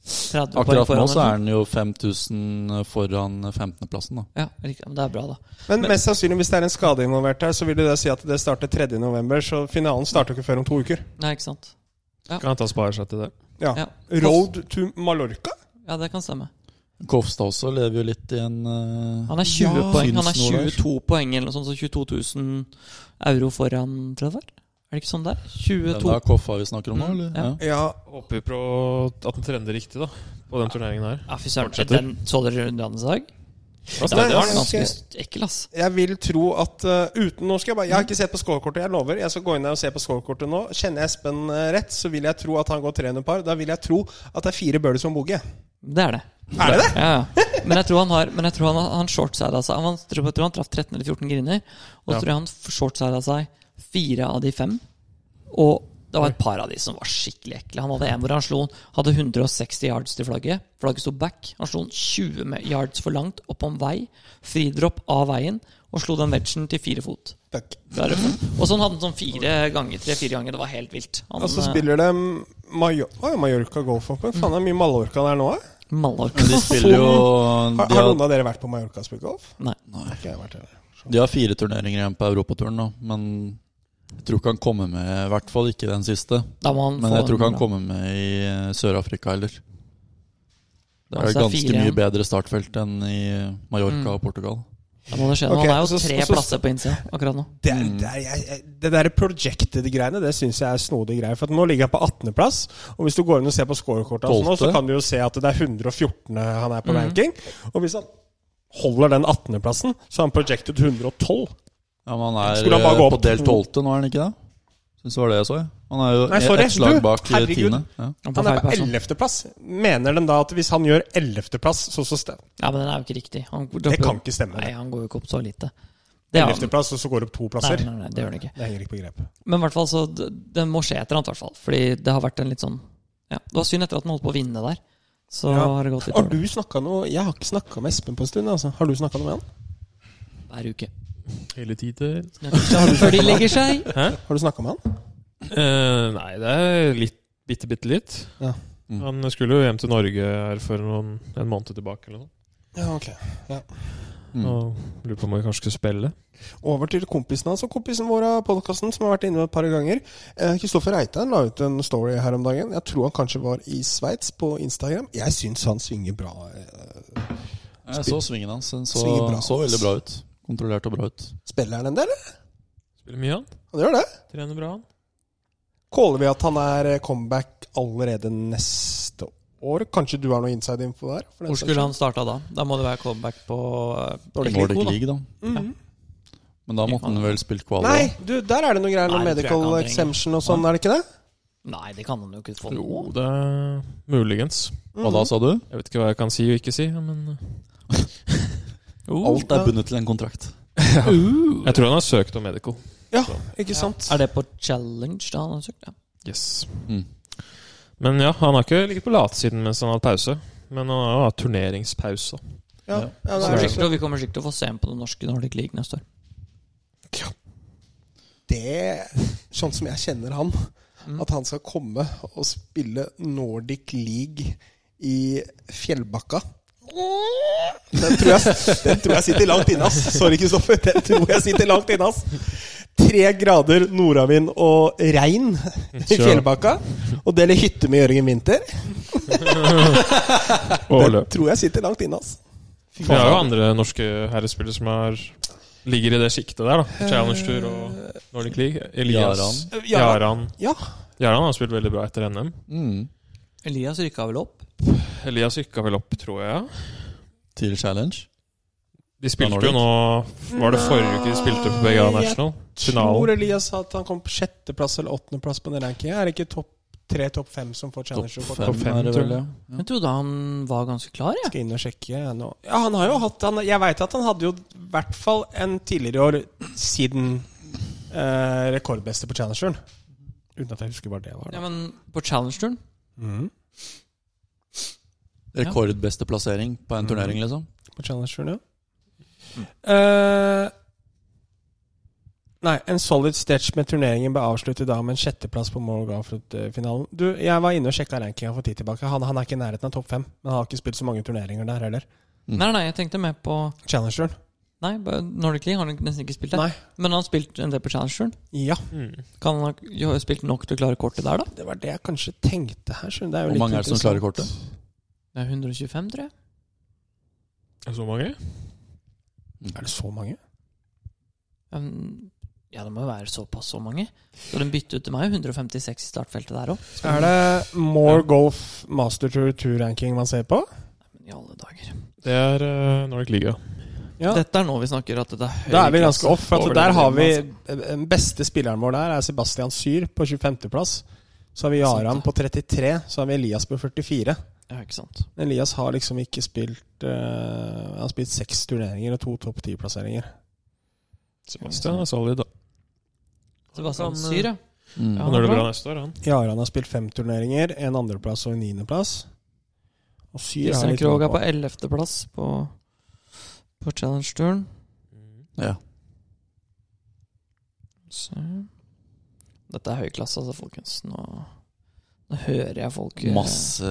C: 30 poeng
A: Akkurat nå
C: foran,
A: så er han jo 5000 foran 15.-plassen, da.
C: Ja, riktig. Men det er bra, da.
B: Men mest sannsynlig hvis det er en skade involvert her, så vil det si at det starter 3. november, så finalen starter ikke før om to uker.
C: Nei, ikke sant.
D: Kan jeg ta spare seg til det?
B: Ja.
C: Ja,
B: Road to Mallorca?
C: ja det kan stemme.
A: Kofstad også lever jo litt i en eh,
C: Han er 20
A: Ja,
C: poeng, han er
A: syns noe der.
C: 22 poeng eller noe sånt, så 22 000 euro foran, tror jeg det var. Er det ikke sånn der?
A: Den
C: 22
A: der koffa vi snakker om nå, eller?
C: Mm, Ja.
B: Ja.
D: Håper vi på at den trender riktig, da. På den turneringen her.
C: Ja, fy søren.
D: Fortsetter.
C: Den så dere runddannelse i dag?
D: Fra
C: Den
D: stadion.
C: var ganske ekkel, ass.
B: Jeg vil tro at eh, uten Nå skal jeg bare Jeg har ikke sett på scorekortet, jeg lover. Jeg skal gå inn der og se på scorekortet nå. Kjenner jeg Espen eh, rett, så vil jeg tro at han går 300 par. Da vil jeg tro at det er fire bøler som boogie.
C: Det er det.
B: Er det det?
C: Ja, ja. Men jeg tror han har Men jeg tror han, han shortsida seg han, tror, jeg tror han traff 13 eller 14 griner. Og så tror jeg han shortsida seg fire av de fem. Og det var et par av de som var skikkelig ekle. Han hadde en hvor han slo Hadde 160 yards til flagget. Flagget sto back. Han slo den 20 med- yards for langt opp om vei. Fridropp av veien. Og slo den vegen til fire fot.
B: Fuck.
C: Det er det. Og så han hadde den sånn fire ganger, tre-fire ganger. Det var helt vilt. Han,
A: Altså,
B: Og så
C: eh,
B: spiller de Major Å, Mallorca Golf Open. Faen, det er
C: Mm.
B: mye Mallorca der nå, eh?
C: Mallorca. <laughs>
A: Men de spiller jo
B: Har,
A: de
B: har
A: har,
B: noen av dere vært på Mallorca og spilt golf?
C: Nei.
B: Ikke jeg har vært der.
A: de har fire turneringer igjen på europaturen nå, men Jeg tror ikke han kommer med, i hvert fall ikke den siste.
C: Da må han
A: Men
C: få
A: jeg tror
C: en
A: ikke han
C: bra-
A: kommer med i eh, Sør-Afrika heller. Det er
C: Altså,
A: et
C: det er
A: ganske
C: fire
A: mye
C: igjen.
A: bedre startfelt enn i Mallorca og Portugal.
C: Da må det skje. noe.
B: Ok,
C: han er jo
B: så-
C: tre
B: og så-
C: plasser på innsida akkurat nå.
B: Det, er, det, er, jeg, jeg- det der projected-greiene Det syns jeg er snodige greier. For at nå ligger jeg på 18.-plass. Og hvis du går inn og ser på scorekortet hans nå, så
A: Tolvte.
B: kan du jo se at det er 114 han
C: Mm.
B: er på ranking. Og hvis han holder den 18.-plassen, så er han projected 112.
A: Ja, men han er
B: Skulle han bare gå
A: eh, på
B: opp to?
A: delt tolvte nå, er han ikke det? Syns det var det jeg så, jeg. Han er jo
B: Nei, sorry,
A: ett slag
B: du,
A: bak eh,
B: herregud.
A: tiende. Ja.
C: Han,
B: Han er på
C: person.
B: 11.-plass. Mener den da at hvis han gjør 11.-plass, så så sted?
C: Ja, men den er jo ikke riktig. Han
B: Det kan ikke stemme.
C: Nei,
B: det.
C: han går jo ikke opp så lite. Det er, nei,
B: 11.-plass, og så går det opp to plasser?
C: nei, nei, det gjør han ikke.
B: Det henger ikke på grep.
C: Men i hvert fall så d- Det må skje et eller annet, i hvert fall. Fordi det har vært en litt sånn Ja, det var synd etter at den holdt på å vinne der. Så
B: Ja.
C: har det gått litt
B: Har
C: over
B: du snakka noe Jeg har ikke snakka med Espen på en stund. Altså. Har du snakka noe med han?
C: hver uke.
D: Hele tiden.
C: Før de legger seg.
B: Har du snakket med han?
D: Eh, nei, det er litt, bitte, bitte litt.
B: Ja.
A: Mm.
D: Han skulle jo hjem til Norge her for noen, en måned tilbake eller noe.
B: Ja, ok.
A: Mm.
D: Og lurer på om vi kanskje skal spille.
B: Over til kompisen hans og kompisen vår av podkasten, som har vært inne et par ganger. Kristoffer Reitan la ut en story her om dagen. Jeg tror han kanskje var i Sveits, på Instagram. Jeg syns han svinger bra. eh,
A: Jeg så svingen hans. Den så,
B: Svinger bra,
A: så
B: ass.
A: veldig bra ut. Kontrollert og bra ut.
B: Spiller han en del, eller?
D: Spiller mye, han.
B: Han gjør det.
D: Trener bra, han.
B: Caller vi at han er eh, comeback allerede neste år? Kanskje du har noe inside info der? for den
C: Hvor
B: saks
C: skulle han starta da? Da må det være comeback på eh,
B: Nordic
C: Elite
A: Nordic
C: League,
A: League, da.
B: skyld? Mhm.
A: Men da måtte han vel spilt kvalik?
B: Nei, du, der er det noen greier
C: Nei,
B: med
C: det
B: medical
C: tror jeg ikke han trenger.
B: exemption og sånn, er det ikke det?
C: da. Nei, det kan han jo ikke få.
D: Jo, det er muligens.
A: Hva da, sa du?
D: Jeg vet ikke hva jeg kan si og ikke si, men eh,
A: Alt er bundet til en kontrakt.
D: jeg tror han har søkt om medical.
B: Ikke sant?
C: Er det på challenge da han har søkt? Ja.
D: Yes.
A: Mm.
D: Men ja, han har ikke ligget på latsiden mens han har hatt pause. Men han har jo hatt turneringspause.
B: Ja,
A: Ja.
B: ja det, er
C: Kommer sikkert,
B: det.
C: og vi kommer sikkert til å få se ham på den norske Nordic League neste år.
B: det Sånn som jeg kjenner han, at han skal komme og spille Nordic League i fjellbakka den tror, jeg, den tror jeg sitter langt inne, ass. Sorry, Kristoffer. Den tror jeg sitter langt inne, ass. Tre grader nordavind og regn i
D: Sure.
B: fjellbakka. Og dele hytte med Jørgen Winther. Den tror jeg sitter langt inne, ass.
D: Vi har jo andre norske herrespillere som er, ligger i det siktet der.
B: Eh,
D: da Challenge Tour og Nordic League. Elias Jaran.
B: Ja.
D: Jaran har spilt veldig bra etter NM.
A: Mm.
C: Elias rykka vel opp?
D: Elias rykka vel opp, tror jeg.
A: Til challenge?
D: De spilte
A: Ja,
D: jo nå Var det forrige uke de spilte på BGA National?
B: Tror
D: Finalen.
B: Elias at han kom på sjetteplass eller åttendeplass på den rankingen? Er det ikke topp tre, topp fem som får
A: Topp
B: challenge? Topp
A: fem,
D: fem,
A: er det
D: tror
A: vel, ja.
C: Jeg trodde han var ganske klar, jeg.
B: Skal inn og sjekke jeg, nå. Ja, han har jo hatt han, Jeg veit at han hadde jo i hvert fall en tidligere i år siden eh, rekordbeste på challengeren. Uten at jeg husker hva det var.
C: Ja,
B: Da.
C: men på challenge-turen
A: Mm.
B: Mhm.
A: Rekordbeste plassering på en turnering, liksom?
B: På challengeren, ja. Eh, nei, en solid stretch med turneringen ble avsluttet i dag med en sjetteplass på Moral Garfield-finalen. Du, jeg var inne og sjekka rankinga for tid tilbake. Han, han er ikke i nærheten av topp fem, men han har ikke spilt så mange turneringer der heller.
A: Mm.
C: Nei, nei, jeg tenkte mer på
B: Challengeren.
C: Nei, bare Nordic League har han nesten ikke spilt. Der.
B: Nei.
C: Men han har spilt en del på challenge-turen.
B: Ja,
D: Mm.
C: Kan han ha jo ha spilt nok til å klare kortet der, da?
B: det var det jeg kanskje tenkte her. skjønner du. Det er jo
A: Hvor
B: litt
A: mange er det som
B: interessant.
A: klarer kortet?
C: Det er 125, tror jeg.
D: Så mange?
A: Mm.
B: Er det så mange?
C: Um, Ja, det må jo være såpass så mange. Så den bytte ut til meg 156 i startfeltet der òg.
B: Er det More Golf Master Tour Tour-ranking man ser på?
C: I alle dager.
D: Det er eh, Nordic League, ja.
B: Ja.
C: Dette er nå vi snakker at det er høy
B: Da er vi ganske
C: klasse
B: off. For
C: over
B: at der
C: det
B: har vi
C: nivået, altså.
B: Den beste spilleren vår der er Sebastian Syr på 25.-plass. Så har vi
C: Sant,
B: Jaran
C: det.
B: på 33. Så har vi Elias på 44.
C: altså. Ja, ikke sant.
B: Men Elias har liksom ikke spilt eh, Han har spilt seks turneringer og to topp ti-plasseringer.
D: Sebastian er solid, da.
C: Sebastian
D: Han, eh,
C: Syr, ja.
A: Mm.
C: Ja.
D: Han gjør det bra neste år, han.
B: Jaran har spilt fem turneringer. En andreplass og en niendeplass. Og Syr har
C: Kristian
B: litt å
C: Krogh
B: gå
C: er
B: på.
C: på 11.-plass på, på challenge-turen.
D: Mm.
A: Ja.
C: Så. Dette er høy klasse, altså, folkens. Nå, nå hører jeg folk eh,
A: Masse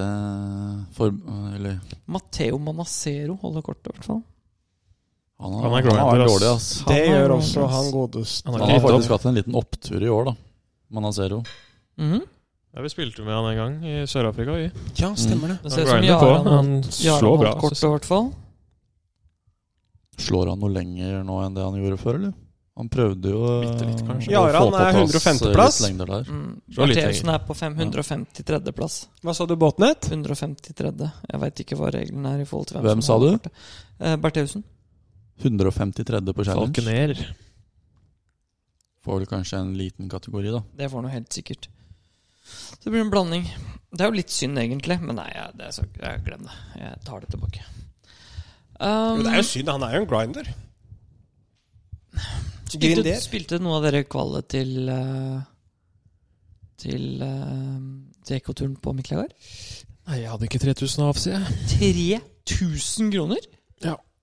A: for... Eller
C: Matteo Manacero holder kortet, i hvert fall.
A: Han er,
D: Han er
A: han er,
D: grinder, ass.
A: dårlig, ass.
C: Han
G: Det
C: er
G: gjør
C: jo-
G: også han godest.
D: Han er
A: Han
D: ikke
A: har faktisk
D: gitt opp.
A: hatt en liten opptur i år, da. Men han ser jo
C: Mhm.
D: Ja, vi spilte med han en gang i Sør-Afrika. vi.
H: Ja, stemmer det.
C: Det
D: Han
C: ser ut som
D: grinder på.
C: Jaran
D: Han slår bra. altså.
C: Kortet, i hvert fall.
A: Slår han noe lenger nå enn det han gjorde før, eller? Han prøvde jo eh,
D: Bitte litt,
A: å
D: kanskje.
B: Jaran
A: få på
B: er
A: plass,
B: 105.
A: eh,
B: plass.
A: litt lengder der.
C: Mm.
D: Slår litt
C: Bertelsen er på 553. plass.
B: Hva sa du, Båtnett?
C: 153. Jeg veit ikke hå reglene er i forhold til hvem,
A: Hvem sa
C: holder
A: du?
C: kortet. Eh, Bertheussen.
A: 153. på challenge.
D: Falkener.
A: Får vel kanskje en liten kategori, da.
C: Det får han jo helt sikkert. Så det blir en blanding. Det er jo litt synd, egentlig, men nei, jeg, det er så, jeg glem det. Jeg tar det tilbake. Um,
B: Jo, det er jo synd. Han er jo en grinder.
C: spilte,
B: Grinder.
C: spilte noen av dere kvalet til eh, Til uh, Deko-turen på Miklagard?
D: Nei, jeg hadde ikke 3000 av, sier jeg.
C: 3000 kroner?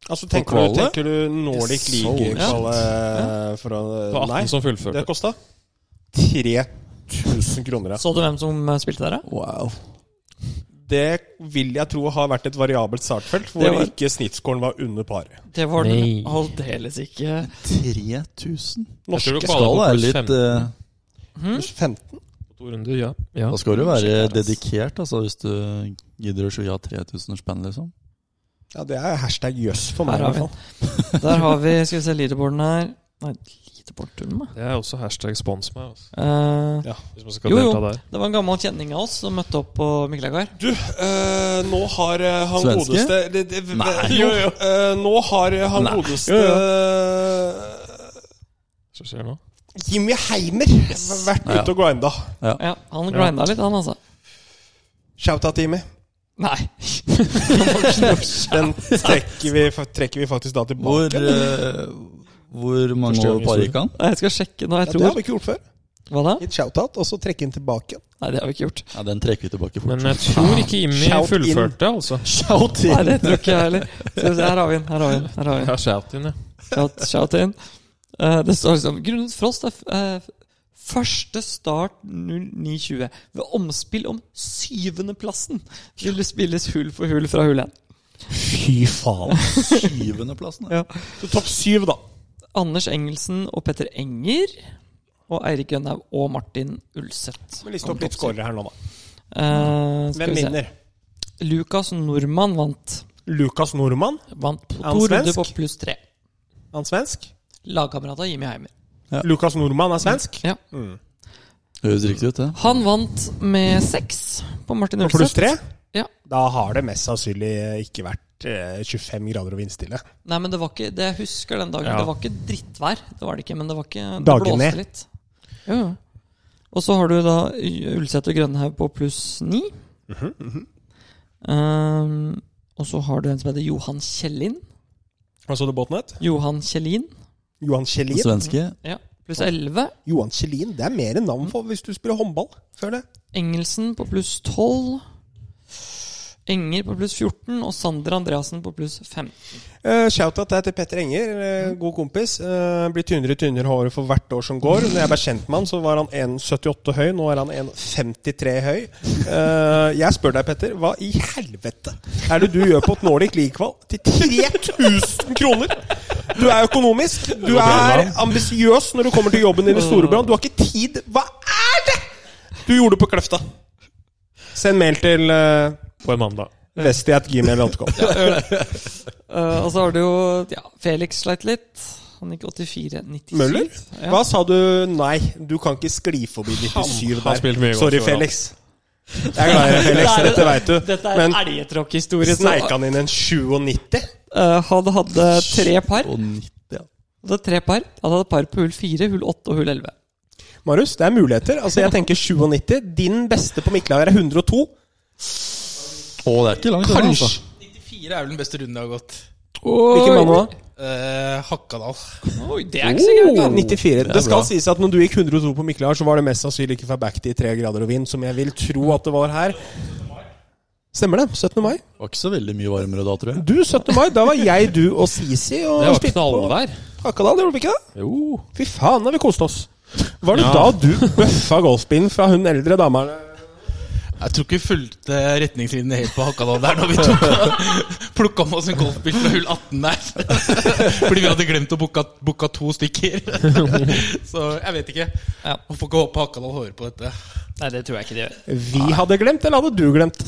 B: Altså,
A: På
B: tenker du,
A: kvalet?
B: tenker du Nordic
D: Det er så
B: League-kvalet for å
D: Det var 18
B: Nei,
D: som
B: det
D: fullførte.
B: kosta 3000 kroner. ja.
C: Så du hvem som eh, spilte der, da?
A: Wow.
B: Det vil jeg tro har vært et variabelt startfelt, hvor
C: Det var-
B: ikke snittskåren var under paret.
C: Det var den
D: Nei.
C: aldeles ikke.
A: 3000?
D: Jeg tror du
B: Norske
D: kvaler
A: Skal
D: på
A: være
D: pluss
A: litt
D: 15
A: eh,
C: Hm?
B: pluss 15.
D: på to runder, ja. ja.
A: Da skal du være
D: Shit, ass.
A: dedikert, altså, hvis du gidder å svi av 3000 spenn, liksom.
B: Ja, det er hashtag jøss for meg.
C: Her
B: i hvert
C: har vi
B: fall.
C: den. Der har vi Skal vi se leaderboarden her. Nei, leaderboarden, da.
D: Det er også hashtag spons meg. Altså.
C: Eh,
D: Hvis man skal
C: Jo, jo.
D: delta der.
C: Det var en gammel kjenning av oss som møtte opp på Miklagard.
B: Du, eh, nå har eh, han
A: Svenske?
B: godeste det, det,
A: Nei.
B: Jo, jo. Eh, nå har eh, han
A: Nei.
B: godeste
D: Så skjer det nå.
B: eh, Jimmy Heimer vært
A: Ja.
B: ute og grinda.
C: Ja, Han
D: Ja.
C: grinda litt, han altså.
B: Shout-out, Jimmy.
C: Nei.
B: Den trekker vi, trekker vi faktisk da tilbake.
A: Hvor, eh, hvor mange
D: Første gang
A: år
D: i
A: par gikk han?
C: <laughs> Nei, Jeg skal sjekke nå, jeg
B: Ja, det har
C: tror.
B: vi ikke gjort før.
C: Hva da?
B: Gitt shout-out, og så trekke den tilbake.
C: Nei, det har vi ikke gjort.
A: Ja, den trekker vi tilbake fort.
D: Men jeg tror ikke Jimmy
B: Shout
D: fullførte, altså.
A: Shout
C: Nei, det tror ikke jeg heller. Skal vi se, Her har vi den. her har vi den, her har vi den.
D: Ja, shout in, ja.
C: Shout, shout in. Eh, det står liksom Grunnet frost er f- eh, første start 0920. Ved omspill om syvendeplassen vil det spilles hull for hull fra hull 1.
B: Fy faen.
A: Syvendeplassen.
C: Ja.
B: Så topp syv, da.
C: Anders Engelsen og Petter Enger. Og Eirik Gønhaug og Martin Ulseth.
B: Vi lister opp litt skårere her nå, da.
C: Eh, skal
B: Hvem
C: vi se.
B: vinner?
C: Lukas Nordmann vant.
B: Lukas Nordmann?
C: Vant på
B: Er han
C: to runder på
B: svensk?
C: pluss tre.
B: Han svensk?
C: Lagkamerat av Jimmy Heimer.
B: Lukas Nordmann er svensk?
C: Ja.
B: Mm.
A: Høres riktig ut, det.
C: Han vant med seks på Martin
B: Og pluss tre?
C: Ulseth. Ja.
B: Da har det mest sannsynlig ikke vært eh, 25 grader og vindstille.
C: Nei, men det var ikke det Jeg husker den dagen.
D: Ja.
C: Det var ikke drittvær. Det var det ikke, men det var ikke Det
B: Dagen
C: blåste
B: ned.
C: litt. Jo, jo. Og så har du da Ulseth og Grønhaug på pluss ni. um, og så har du en som heter Johan Kjellin.
B: Hva så du, Båtnett?
C: Johan Kjellin
B: Johan Kjellin.
A: Den svenske.
C: ja. pluss elleve.
B: Johan Kjellin, det er mer enn navn for hvis du spiller håndball. Føler jeg.
C: Engelsen på pluss 12. Enger på pluss 14 og Sander Andreassen på pluss 5.
B: Eh, Shout-out er til Petter Enger, eh, god kompis. Eh, blir tynnere og tynnere håret for hvert år som går. Når jeg ble kjent med han, så var han 1,78 høy. Nå er han 1,53 høy. Eh, jeg spør deg, Petter, hva i helvete er det du gjør på et Nordic League-kval til 3000 kroner?! Du er økonomisk, du er ambisiøs når du kommer til jobben din i Storebrand. Du har ikke tid. Hva er det?! Du gjorde det på Kløfta. Send mail til uh,
D: På en mandag.
B: vesti.gmail.com.
C: Eh, og så har du jo ja, Felix sleit litt. Han gikk 84-97.
B: Møller?
C: Ja.
B: Hva sa du? Nei, du kan ikke skli forbi 97
D: Han
B: der.
D: spilte mye godt
B: Sorry,
D: i år,
B: Felix. Jeg er glad i deg, Felix.
C: Det er-
B: Dette veit du.
C: Dette er
B: Men-
C: en elgetråkkhistorie.
B: Sneik han inn en 97?
C: han Eh, hadde tre par.
A: Og 90, ja.
C: Han hadde tre par. Han hadde par på hull 4, hull 8 og hull 11.
B: Marius, det er muligheter. Altså, Jeg tenker 97. Din beste på Mikkelager er 102.
A: Å, det er ikke langt unna, altså.
B: Kanskje.
F: 94 er vel den beste runden jeg har gått.
B: Hvilken mann var det?
F: Eh, Hakadal.
C: Oi, det er ikke så gærent. da.
B: 94. Det,
A: er
B: skal
A: bra.
B: sies at når du gikk 102 på Mikkelager, så var det mest sannsynlig ikke fra back til 3 grader og vind, som jeg vil tro at det var her. Stemmer det. 17. mai.
A: Det var ikke så veldig mye varmere da, tror jeg.
B: Du, 17. mai. Da var jeg, du og Sisi og
D: Det var
B: spilte på
D: knallvær.
B: Hakadal, gjorde vi ikke det?
D: Jo.
B: Fy faen, da har vi kost oss. Var det da du bøffa golfbilen fra hun eldre dama?
F: Nei, Jeg tror ikke vi fulgte retningslinjene helt på Hakadal der når vi <laughs> tok plukka med oss en golfbil fra hull 18 der. <laughs> Fordi vi hadde glemt å booka, booka to stykker. <laughs> Så jeg vet ikke.
C: Ja.
F: Hvorfor ikke håpe Hakadal hører på dette?
C: Nei, det tror jeg ikke de gjør.
H: Vi hadde glemt, eller hadde du glemt?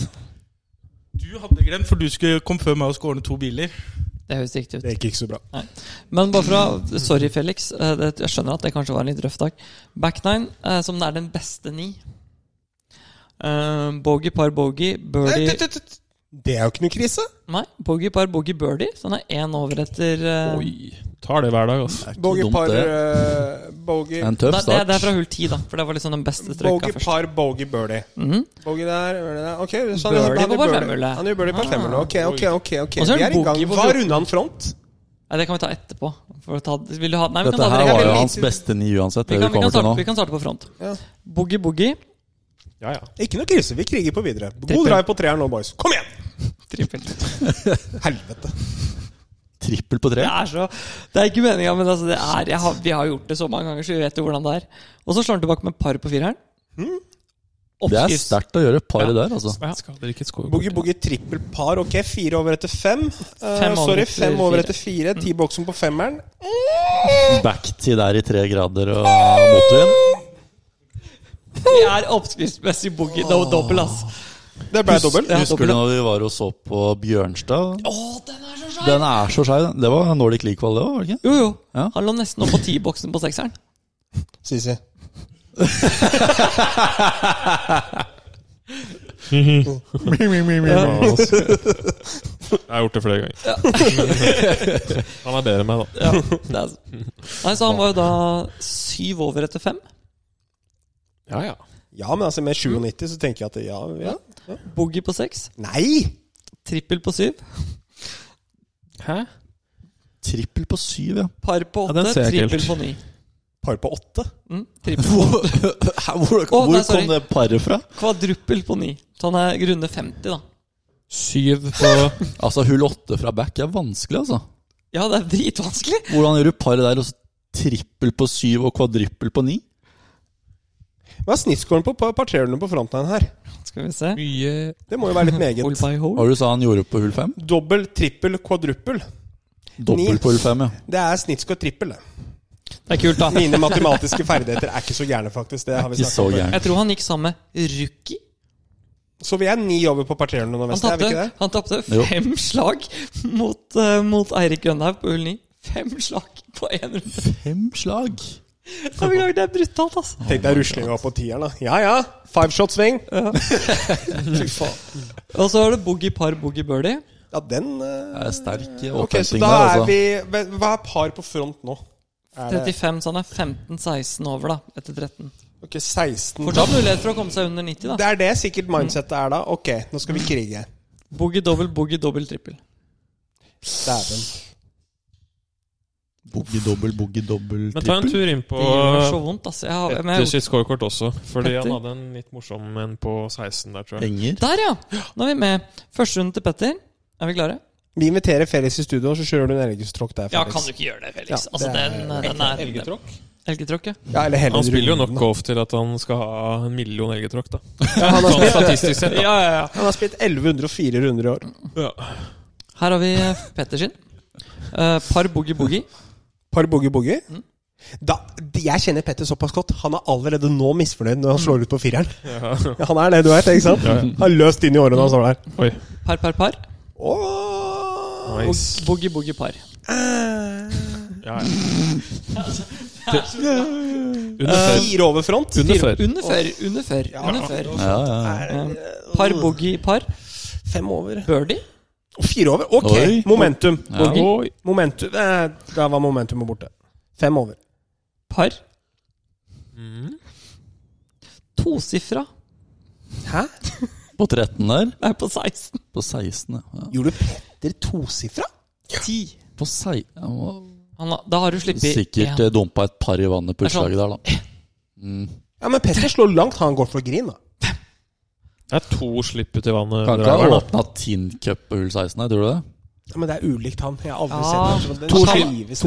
F: Du hadde glemt, for du skulle kom før meg og skulle ordne to biler.
C: Det høres riktig ut.
B: Det gikk ikke så bra.
C: Men bare fra Sorry, Felix. eh, det- Jeg skjønner at det kanskje var en litt røff dag. Back nine, eh, som er den beste ni. Eh, Bogey, par bogey, birdie
B: Det er jo ikke noe krise.
C: Nei, bogey, par bogey, birdie. Så han er én over etter eh,
D: Tar det hver dag, altså.
A: er ikke
B: Bogey
A: dumt,
B: par
A: det.
B: eh,
A: Det
B: Bogey
A: er en tøff
C: Nei, det, er-
A: start.
C: det er fra hull ti, da. For det var liksom den beste strøka
B: Bogey
C: først.
B: par, bogey birdie.
C: Mhm.
B: Bogey der, birdie der Ok, så
C: Birdie
B: han, han,
C: på
B: gjør birdie.
C: femhullet.
B: han gjør birdie på
C: Ah.
B: femhullet. Ok, ok, ok. ok
C: Og så er det
B: Vi er i gang.
C: bogey på
B: Hva
C: fjorten.
B: runda han front?
C: Nei, det kan vi ta etterpå. For å ta, vil du ha, nei, vi kan ta det
A: Dette her
C: rett-
A: var
B: Jeg
A: jo
B: vil-
A: hans beste ni uansett,
C: vi
A: det
C: kan, vi, kan
A: vi kommer til
C: starte, vi
A: nå.
C: kan starte på front.
B: Ja.
C: Boogie boogie.
D: Ja, ja.
B: Ikke noe krise. Vi kriger på videre. God
C: Trippel.
B: drive på treeren nå, boys. Kom igjen!
C: Trippel.
B: Helvete.
A: Trippel på tre.
C: Det er så Det er ikke meninga, men altså, det er, jeg har, vi har gjort det så mange ganger, så vi vet jo hvordan det er. Og så slår han tilbake med par på fireren. Hmm?
A: Det er
C: Oppskrifts-
A: sterkt å gjøre par der, altså.
D: Skader ikke et
B: Boogie boogie trippel par. Ok, fire over etter fem. Eh,
C: Fem over
B: sorry,
C: etter
B: fem over
C: fire. Mm.
B: etter fire. T-boksen på femmeren.
A: Back til der i tre grader og motvind.
C: Det er oppskriftsmessig boogie. No dobbel, ass.
B: Det ble dobbel.
C: Ja,
A: Husker du
C: dobbel.
A: når vi var og så på Bjørnstad?
C: Å, den er så skeiv!
A: Den er så skeiv. Det var Nordic League-kval, det òg, var det ikke?
C: Jo, jo.
A: Ja.
C: Han lå nesten oppå T-boksen på sekseren.
B: Sisi.
D: Jeg har gjort det flere ganger. Men, eh, <laughs> han er bedre enn meg, da.
C: Ja, <laughs> det er... Nei, Så han var jo da syv over etter fem.
D: Ja, ja.
B: Ja, men altså, med 97 så tenker jeg at ja, ja.
A: Mm.
C: Boogie på seks.
B: Nei!
C: Trippel på syv.
D: Hæ?
A: Trippel på syv, ja.
C: Par på
D: Ja, den
C: åtte.
D: ser jeg ikke
C: trippel
D: helt.
C: på ni.
B: Par på åtte.
C: Mm, trippel.
A: Hvor, <laughs>
C: Å,
A: hvor,
C: nei,
A: hvor
C: sorry.
A: kom det paret fra?
C: Kvadruppel på ni. Så han er runde 50, da.
D: Syv på
A: Altså, Hull åtte fra back er vanskelig, altså.
C: Ja, det er dritvanskelig!
A: Hvordan gjør du paret der, og så trippel på syv og kvadrippel på ni?
B: Hva er snittskåren på par par trehjulene på frontline her?
C: Skal vi se.
D: mye
B: Det må jo
C: <laughs>
B: være litt
C: Hole
B: meget.
C: by hole.
A: Hva var det du sa han gjorde på hull fem?
B: Dobbel, trippel, kvadruppel. Ni.
A: Dobbel på hull fem, ja.
B: Det er snittskår trippel. det.
C: Det er kult, da.
B: Mine
C: <laughs>
B: matematiske ferdigheter er ikke så gærne, faktisk. Det har vi
A: Ikke så
B: snakket om.
A: gæren.
C: Jeg tror han gikk sammen med Rookie.
B: Så vi er ni over på par trehjulene nå,
C: Han
B: Vest. Er vi ikke
C: tapte-
B: det?
C: han tapte
A: Jo.
C: fem slag mot, eh, mot Eirik Grønhaug på hull 9. Fem slag på én runde!
A: Fem slag.
C: Ja, men Det er brutalt, altså.
B: Tenk deg ruslinga på tieren, da. Ja ja! Five shot swing. <laughs> Fy faen.
C: Og så var det boogie par, boogie birdie.
B: Ja, den
A: Det
B: eh,
A: er sterk eh,
B: Ok, så
A: opphenting
B: da
A: der,
B: er
A: altså.
B: vi hva- Hva er par på front nå? Er det,
C: 35, så han er 15-16 over, da. Etter 13.
B: ok, 16
C: Fortsatt mulighet for å komme seg under 90, da.
B: Det er det sikkert mindsettet er da. Ok, nå skal vi krige.
C: Boogie dobbel, boogie dobbel, trippel.
B: Dæven.
A: Boogie dobbel, boogie dobbel,
D: Men ta en
A: trippel.
D: tur inn på
C: Det gjør så vondt, altså. Jeg har, men jeg
D: etter
C: har gjort-
D: sitt scorekort også. Fordi
C: Petter?
D: han hadde en litt morsom en på 16 der, tror jeg.
A: Enger.
C: Der, ja! Nå er vi med. Første runde til Petter. Er vi klare?
B: Vi inviterer Felix i studio, så kjører du en elgetråkk der,
C: Ja,
B: Felix.
C: kan du ikke gjøre det, Felix?
B: Ja,
C: altså,
B: det er-
C: den, den er Elgetråkk, ja.
B: Ja, eller hele
D: Han spiller jo
B: runden,
D: nok
B: da.
D: golf til at han skal ha en million elgetråkk, da.
B: <laughs> Ja, han, har
D: Sånn
B: spilt,
D: statistisk sett,
C: Ja,
D: da.
C: ja, ja.
B: han har spilt 1104 runder i år.
C: Her har vi eh, Petter sin. Eh, par boogie-boogie.
B: Par boogie-boogie.
C: Mm.
B: Da, de- jeg kjenner Petter såpass godt. Han er allerede nå misfornøyd
C: Mm.
B: når han slår ut på fireren. Ja, Han er det, du vet, ikke sant? Han er løst inn i årene han står der.
D: Oi.
C: Par, par, par.
B: Åh.
D: Nice.
C: Boogie-boogie-par.
D: Ja, ja. Under før.
B: Fire over front.
D: Under før.
C: Under før, under før. Under før.
A: Ja, ja.
C: Par boogie-par.
B: eh, Fem over.
C: Birdie.
B: Og Fire over. Ok,
A: Oi.
B: momentum.
A: ja.
D: Oi.
B: Momentum eh, Da var momentumet borte. Fem over.
C: Par. Tosifra
B: Hæ?
A: På 13 der.
C: er på 16.
A: På 16, ja.
B: Gjorde Petter tosifra?
C: 10.
A: På 16 jeg må
C: Han, har- da har du sluppet
A: Sikkert
C: én.
A: eh, dumpa et par i vannet på
C: Det er sånn.
A: utslaget der, da.
B: Ja, men Petter slår langt. Han går for grin, da.
D: Det er to slipp ut i vannet.
A: Kan ikke
D: driver,
A: ha
D: da.
A: åpna Tin Cup på hull 16 her, tror du det?
B: Ja, Men det er ulikt han. Jeg har aldri
C: Ja.
B: sett ham.
D: To, slipp, to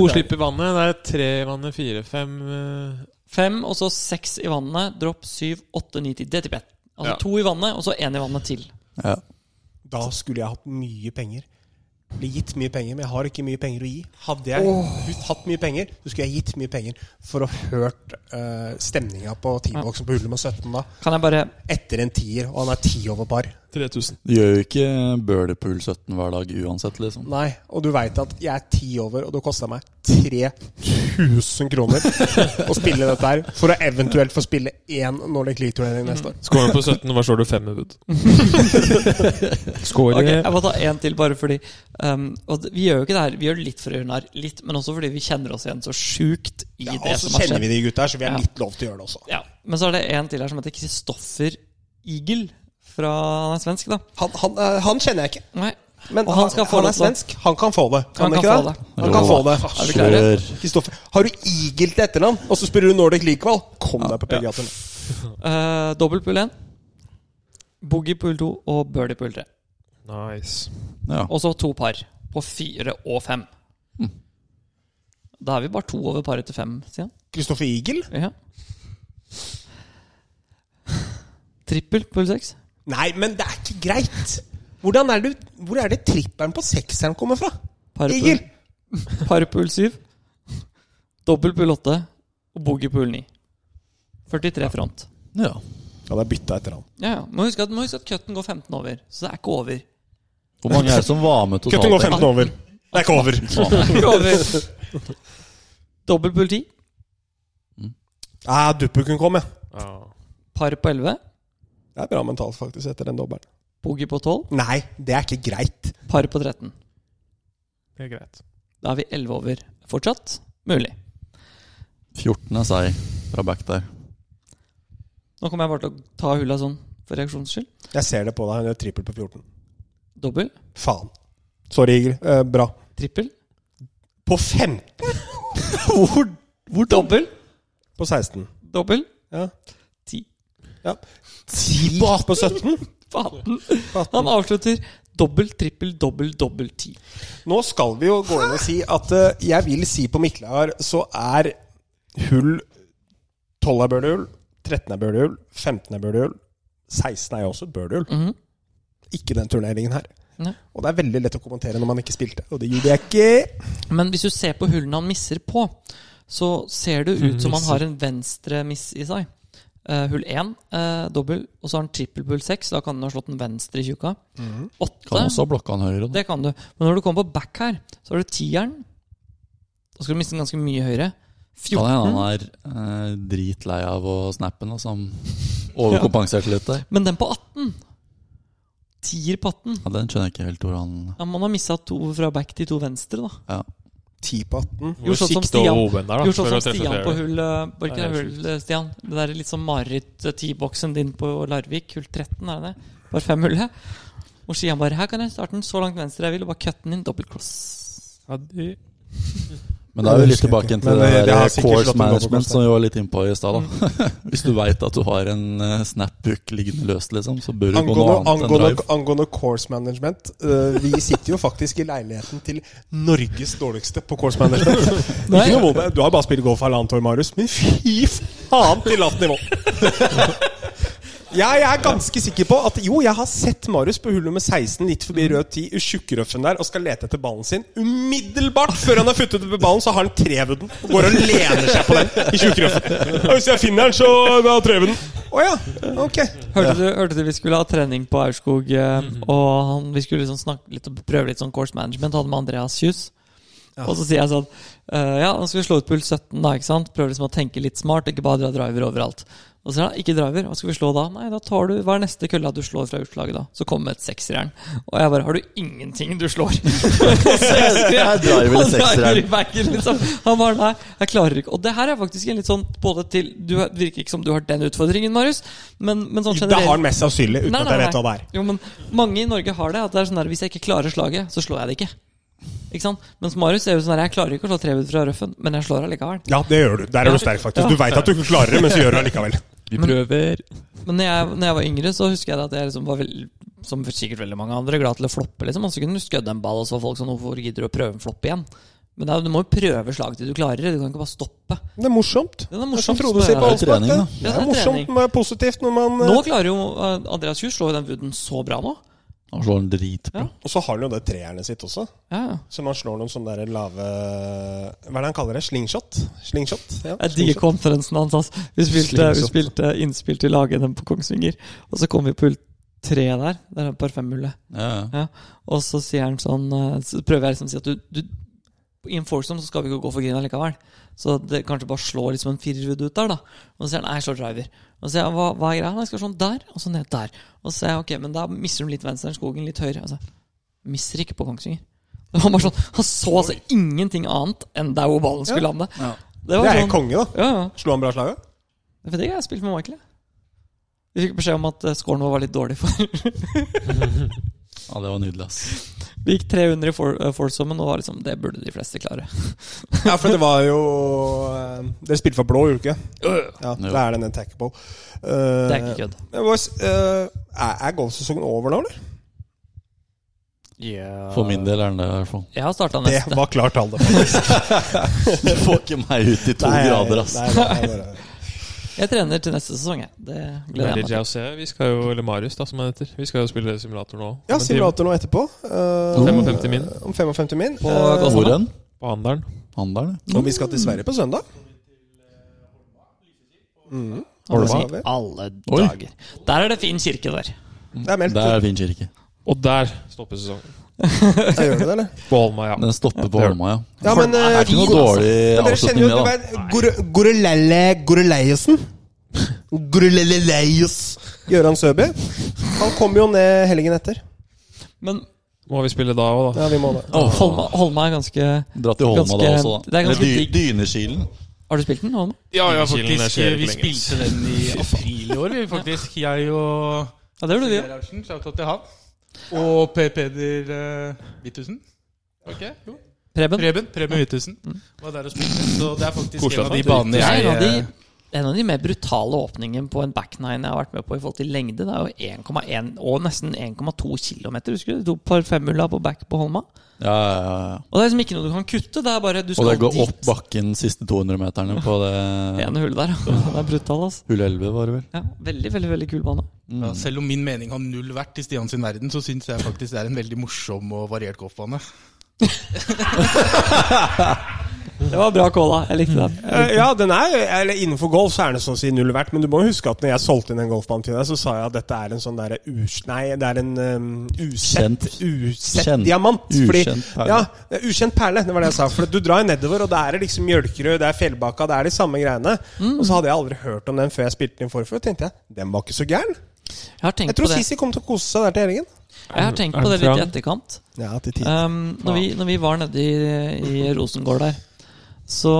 D: slipp i vannet. Det er tre i vannet, fire, fem eh,
C: Fem, og så seks i vannet. Dropp syv, åtte, ni, ti. Det tipper jeg Altså
D: Ja.
C: to i vannet, og så én i vannet til.
A: Ja.
B: Da skulle jeg hatt mye penger. Blir gitt mye penger, men jeg har ikke mye penger å gi. Hadde jeg hatt mye penger, så skulle jeg gitt mye penger for å hørt uh, stemninga på T-boksen på hull nummer 17 da.
C: Kan jeg bare
B: Etter en tier, og han er ti over par.
D: 3000.
A: Du gjør jo ikke Bøhlepool 17 hver dag uansett, liksom.
B: Nei, og du veit at jeg er ti over, og det kosta meg 3000 kroner å spille dette her for å eventuelt få spille én Nordic League-turnering neste år.
C: Mm.
D: Scorer på 17, hva slår du fem
B: <laughs>
D: ut? Scorer
C: Ok, jeg må ta én til, bare fordi um, Og det- vi gjør jo ikke det her. Vi gjør det litt for å gjøre narr, litt, men også fordi vi kjenner oss igjen så sjukt i
B: Ja,
C: det
B: og så
C: som har
B: kjenner vi
C: skjedd.
B: de gutta her, så vi
C: Ja.
B: har litt lov til å gjøre det også.
C: Ja. Men så er det en til her som heter Kristoffer Igel. Fra, han er svensk, da.
B: Han, han, eh, han kjenner jeg ikke,
C: Nei.
B: men
C: Og
B: han,
C: han skal få
B: han
C: lov
B: er
C: til å-
B: svensk. Han kan få det. Kan
C: Han
B: han,
C: kan
B: ikke
C: få
B: det? Han kan få det.
C: Er vi klare?
B: Kristoffer, har du Igel til etternavn, og så spiller du Nordic League-kval? Kom deg på PGA-turné.
C: Eh, dobbelt pool 1, boogie pool 2 og birdie pool 3.
D: Nice.
A: Ja.
C: Og så to par på fire og fem.
B: Mm.
C: Da er vi bare to over paret til fem, sier han.
B: Kristoffer Igel?
C: Ja. Trippel pool 6.
B: Nei, men det er ikke greit! Hvordan er det, hvor er det trippelen på sekseren kommer fra? Igel!
C: Par pool 7. Dobbel pool 8 og boogie pool 9. 43 front.
A: ja.
B: Ja, det er bytta etter han.
C: Ja, ja. Må huske at, må huske at cutten går 15 over, så det er ikke <laughs> over.
A: Hvor mange er det som var med
B: Kutten går 15
A: totalt?
B: over. Det er ikke over.
C: over. Dobbel pool 10,
B: Nei, Duppuken Ah, kom, ja.
D: Ja.
C: par på 11,
B: Det er bra mentalt, faktisk, etter den dobbelen.
C: boogie på 12,
B: Nei, det er ikke greit.
C: par på 13.
D: Det er greit.
C: Da er vi 11 over fortsatt. Mulig.
A: 14 er seg fra back der.
C: Nå kommer jeg bare til å ta hulla sånn for reaksjons skyld.
B: Jeg ser det på deg. Hun gjør trippel på 14.
C: Dobbel,
B: Faen. Sorry, Igel. Eh, bra.
C: trippel,
B: På 15? <laughs>
A: Hvor,
C: dobbel,
B: På 16.
C: dobbel,
B: Ja.
C: ti.
B: ja. 10 på 17?
C: Faen.
B: På 18.
C: Han avslutter dobbel, trippel, dobbel, dobbel, ti.
B: Nå skal vi jo gå inn og si at eh, jeg vil si på Mikkelhar så er hull 12 er bølehull, 13 er bølehull, 15 er bølehull, 16 er jo også et bølehull.
C: Mhm.
B: Ikke den turneringen her.
C: Nei.
B: Og det er veldig lett å kommentere når man ikke spilte, og det gjorde jeg ikke.
C: Men hvis du ser på hullene han misser på, så ser det ut som han har en venstre miss i seg. Eh, hull 1, dobbel, og så har han trippel pull 6. Da kan han ha slått den venstre i tjukka. Åtte
A: Kan også ha blokka han høyre. Da.
C: Det kan du. Men når du kommer på back her, så har du tieren. Da skal du miste den ganske mye høyere.
A: Kan hende
C: 14.
A: han er eh, dritlei av å snappe den, og så han overkompenserte litt der.
C: Men den på 18. Tier på 18.
A: Ja, den skjønner jeg ikke helt hvor han
C: Ja, man har missa to fra back til to venstre, da.
A: ja.
B: 10 på 18.
C: Gjorde sånn som Stian- Gjort sånn som Stian på
D: hull.
C: hull eh, Var ikke
D: Ja,
C: det
D: jeg
C: hull, eh, Stian? Det der er litt sånn mareritt-T-boksen din på Larvik, hull 13, er det det? Bare fem hullet. Og Stian bare 'Her kan jeg starte den så langt venstre jeg vil', og bare cutte den inn. Double cross.
A: Men da er vi litt tilbake til
B: Men,
A: det,
B: eh, det har sikkert
A: der
B: slått Mm.
A: course
B: en
A: management
B: dobbeltkast,
A: som vi var litt innpå i stad. da. <laughs> Hvis du veit at du har en eh, snapbook liggende løst, liksom, så bør du gå noe
B: Angående,
A: annet enn
B: angående,
A: drive.
B: angående course management eh, Vi sitter jo faktisk i leiligheten til Norges dårligste på course management.
C: Nei.
B: Ikke noe vondt, Du har bare spilt golf halvannet år, Marius, men fy faen til lavt nivå! <laughs> Jeg er ganske sikker på at jo, jeg har sett Marius på hull nummer 16 litt forbi rød 10 i tjukkrøffen der og skal lete etter ballen sin. Umiddelbart før han har futtet etter ballen, så har han trevuden og går og lener seg på den i tjukkrøffen. Og hvis jeg finner den, så har trevuden. Å ja. Ok.
C: Hørte, du, hørte du vi skulle ha trening på Aurskog, eh,
A: Mm-hmm.
C: og han, vi skulle liksom snakke litt og prøve litt sånn course management, hadde med Andreas Kjus. Og så sier jeg sånn eh, Ja, nå skal vi slå ut puls 17, da, ikke sant? Prøve liksom å tenke litt smart, ikke bare dra driver overalt. Og så sier han ikke driver, hva skal vi slå da? Nei, da tar du Hva er neste kølla du slår fra utslaget, da? Så kommer et seksjern. Og jeg bare Har du ingenting du
A: <laughs>
C: slår? <laughs>
A: Jeg driver i sekseren.
C: Backer, liksom. Han var nei, jeg klarer ikke. Og det her er faktisk en litt sånn både til Du virker ikke som du har den utfordringen, Marius, men, men sånn
B: Det har
C: generelt
B: han mest sannsynlig, uten
C: Nei,
B: at jeg
C: nei,
B: vet hva det
C: nei.
B: er.
C: Jo, men mange i Norge har det. At det er sånn der, Hvis jeg ikke klarer slaget, så slår jeg det ikke. Ikke sant? Mens Marius er jo sånn der, Jeg klarer ikke å slå trehud fra røffen, men jeg slår allikevel.
B: Ja, det gjør du. Der er du sterk, faktisk. Du veit at du ikke klarer det, men så gjør du det likevel.
D: Vi prøver.
C: Men når jeg, når jeg var yngre, så husker jeg at jeg liksom var vel, som Altså, sikkert veldig mange andre, glad til å floppe. liksom Og så kunne du skødde en ball, og så var folk sånn Hvorfor gidder du å prøve en flopp igjen? Men det er, du må jo prøve slaget til du klarer det. Du kan ikke bare stoppe.
B: Det er morsomt.
C: Det er
B: Det er som
C: morsomt.
B: Frode sier på
C: Ja,
A: det er
B: Allspark.
A: trening,
B: Det
A: da.
B: Det
C: Ja, det
B: er
C: er
B: morsomt
C: trening.
B: med positivt når man
C: Nå klarer jo eh, Andreas Juhl slå den wooden så bra nå.
A: Han slår en dritbra.
C: Ja.
B: Og så har han jo det treerne sitt også.
C: Ja, ja.
B: Så man slår noen sånne der lave Hva er det han kaller det? Slingshot? Slingshot? Ja,
C: Jeg digger konferansen hans. ass. Vi spilte, vi spilte innspill til lagene på Kongsvinger, og så kom vi på hull tre der. Det er par femmullet.
A: Ja, ja.
C: Ja. Og så sier han sånn eh, Så prøver jeg liksom å si at du, du i en foursome så skal vi ikke gå for green likevel. Så det kanskje bare slår liksom en firerwood ut der, da. Og så sier han nei, jeg slår driver. Og så sier jeg hva, hva er greia? Nei, jeg skal slå den der, og så ned der. Og så sier jeg ok, men da mister du litt venstre enn skogen, litt høyre. Altså, mister ikke på Kongsvinger. Det var bare sånn, Han så altså ingenting annet enn der hvor ballen skulle lande.
A: Ja.
C: Det
B: Det
C: var
B: er
C: sånn,
B: konge, da.
C: ja, ja.
B: Slo han bra
C: <laughs>
B: slaget?
C: Det vet jeg ikke, jeg har spilt med Michael. jeg. Vi fikk beskjed om at eh, scoren vår var litt dårlig. for
A: ja, det var nydelig, ass.
C: Vi gikk 300 i for- eh, foursomen, og var liksom, det burde de fleste klare.
B: Ja, for det var jo eh, Dere spilte for blå, gjorde dere ikke? Ja,
A: Jo.
B: da er den en Eh, tackable.
C: Øh. Det er ikke kødd.
B: eh, er golfsesongen over nå, eller?
A: For min del er den det, i hvert fall. <laughs>
C: Jeg har starta
B: Det
C: neste.
B: var klart tall, det.
A: Du får ikke meg ut i to
B: Nei,
A: grader, ass.
B: nei, nei, nei, nei.
C: Jeg trener til neste sesong, jeg. Det gleder jeg meg
D: Veldig
C: til.
D: jazzy. Vi skal jo, eller Marius, da, som han heter. Vi skal jo spille simulator nå.
B: <laughs> Ja,
D: Om en
B: simulator nå etterpå. Eh,
A: Mm.
D: 55 min.
B: Om 55 min.
C: På
B: Eh,
C: Gåshamar.
A: Hvor hen?
D: time På Handelen.
A: Handelen? ja.
B: og vi skal til Sverige på søndag. Mm.
C: Alle
B: Holma.
C: dager. Alle
A: Oi.
C: dager. Der er det fin kirke der.
B: Det er meldt.
A: Det er fin kirke.
D: Og der stopper sesongen.
B: Jeg gjør det, eller?
A: <laughs>
D: På Holma, ja.
A: Den stopper på Holma, ja.
B: Ja, men,
A: det er ikke
C: eh,
A: noe dårlig
B: Men dere kjenner
A: avslutning,
B: jo
A: det, da.
B: det var Gorelelle Goreleiesen. Goreleleis. Gøran Søby. Han kommer jo ned helgen etter.
C: Men
D: Må vi spille da òg, da?
B: Ja, vi må det.
C: Holma, Holma er ganske
A: Dra til Holma da
C: Ganske-
A: også, da.
C: det er ganske
A: Eller dy-
C: digg.
A: Dynekilen.
C: Har du spilt den, Holma?
F: Ja, ja,
D: Kilden er
F: faktisk.
D: ikke
F: Vi
D: lenger.
F: spilte den
D: <laughs>
F: i april i år, vi, faktisk. Jeg og
C: Ja, det gjorde vi.
F: Geir Arntzen, shoutout til han. Og Per Peder eh, Hvithusen. Ok, jo.
C: Preben.
F: Preben Preben Hvithusen var der og spilte. Så det er faktisk
D: Mm. Koselig
F: en
D: at
F: av de
D: du-
F: banene
C: Det er
F: jeg
C: en av de,
F: eh,
C: en av de mer brutale åpningene på en backnine jeg har vært med på i forhold til lengde. Det er jo 1,1 og nesten 1,2 km, husker du? To par femmulla på back på Holma.
A: Ja, ja, ja, ja.
C: Og det er liksom ikke noe du kan kutte. Det er bare du
A: Og
C: skal
A: det går opp
C: dit.
A: bakken siste 200 meterne på det
C: ene hullet
B: <laughs>
C: der. ja. Den er brutal, altså.
A: Hull 11, var det vel?
C: Ja, veldig, veldig veldig kul bane.
D: Mm.
F: ja, Selv om min mening har null vært i Stian sin verden, så syns jeg faktisk det er en veldig morsom og variert golfbane.
C: Det var bra calla. Jeg likte den.
B: Eh, Ja, den er eller Innenfor golf så er det sånn å si null verdt, men du må huske at når jeg solgte inn den golfbanen til deg, så sa jeg at dette er en sånn derre us... Nei, det er en um, usett, usett
A: Kjent.
B: diamant.
A: Ukjent perle.
B: perle. Ja, det er ukjent perle, det var det jeg sa. For du drar jo nedover, og der er liksom Mjølkerød, det er Fjellbakka, det er de samme greiene.
A: Mm.
B: Og så hadde jeg aldri hørt om den før jeg spilte den forfør, og tenkte jeg den var ikke så gæren.
C: Jeg har tenkt
B: Jeg tror
C: på det
B: Sisi kommer til å kose seg der til helgen.
C: Jeg har tenkt
D: Er
C: på det
D: den
C: litt i
D: trang?
C: etterkant.
B: Ja, til
A: Eh,
B: tid.
C: Um, når, vi, når vi var nede i, i Rosengård der, så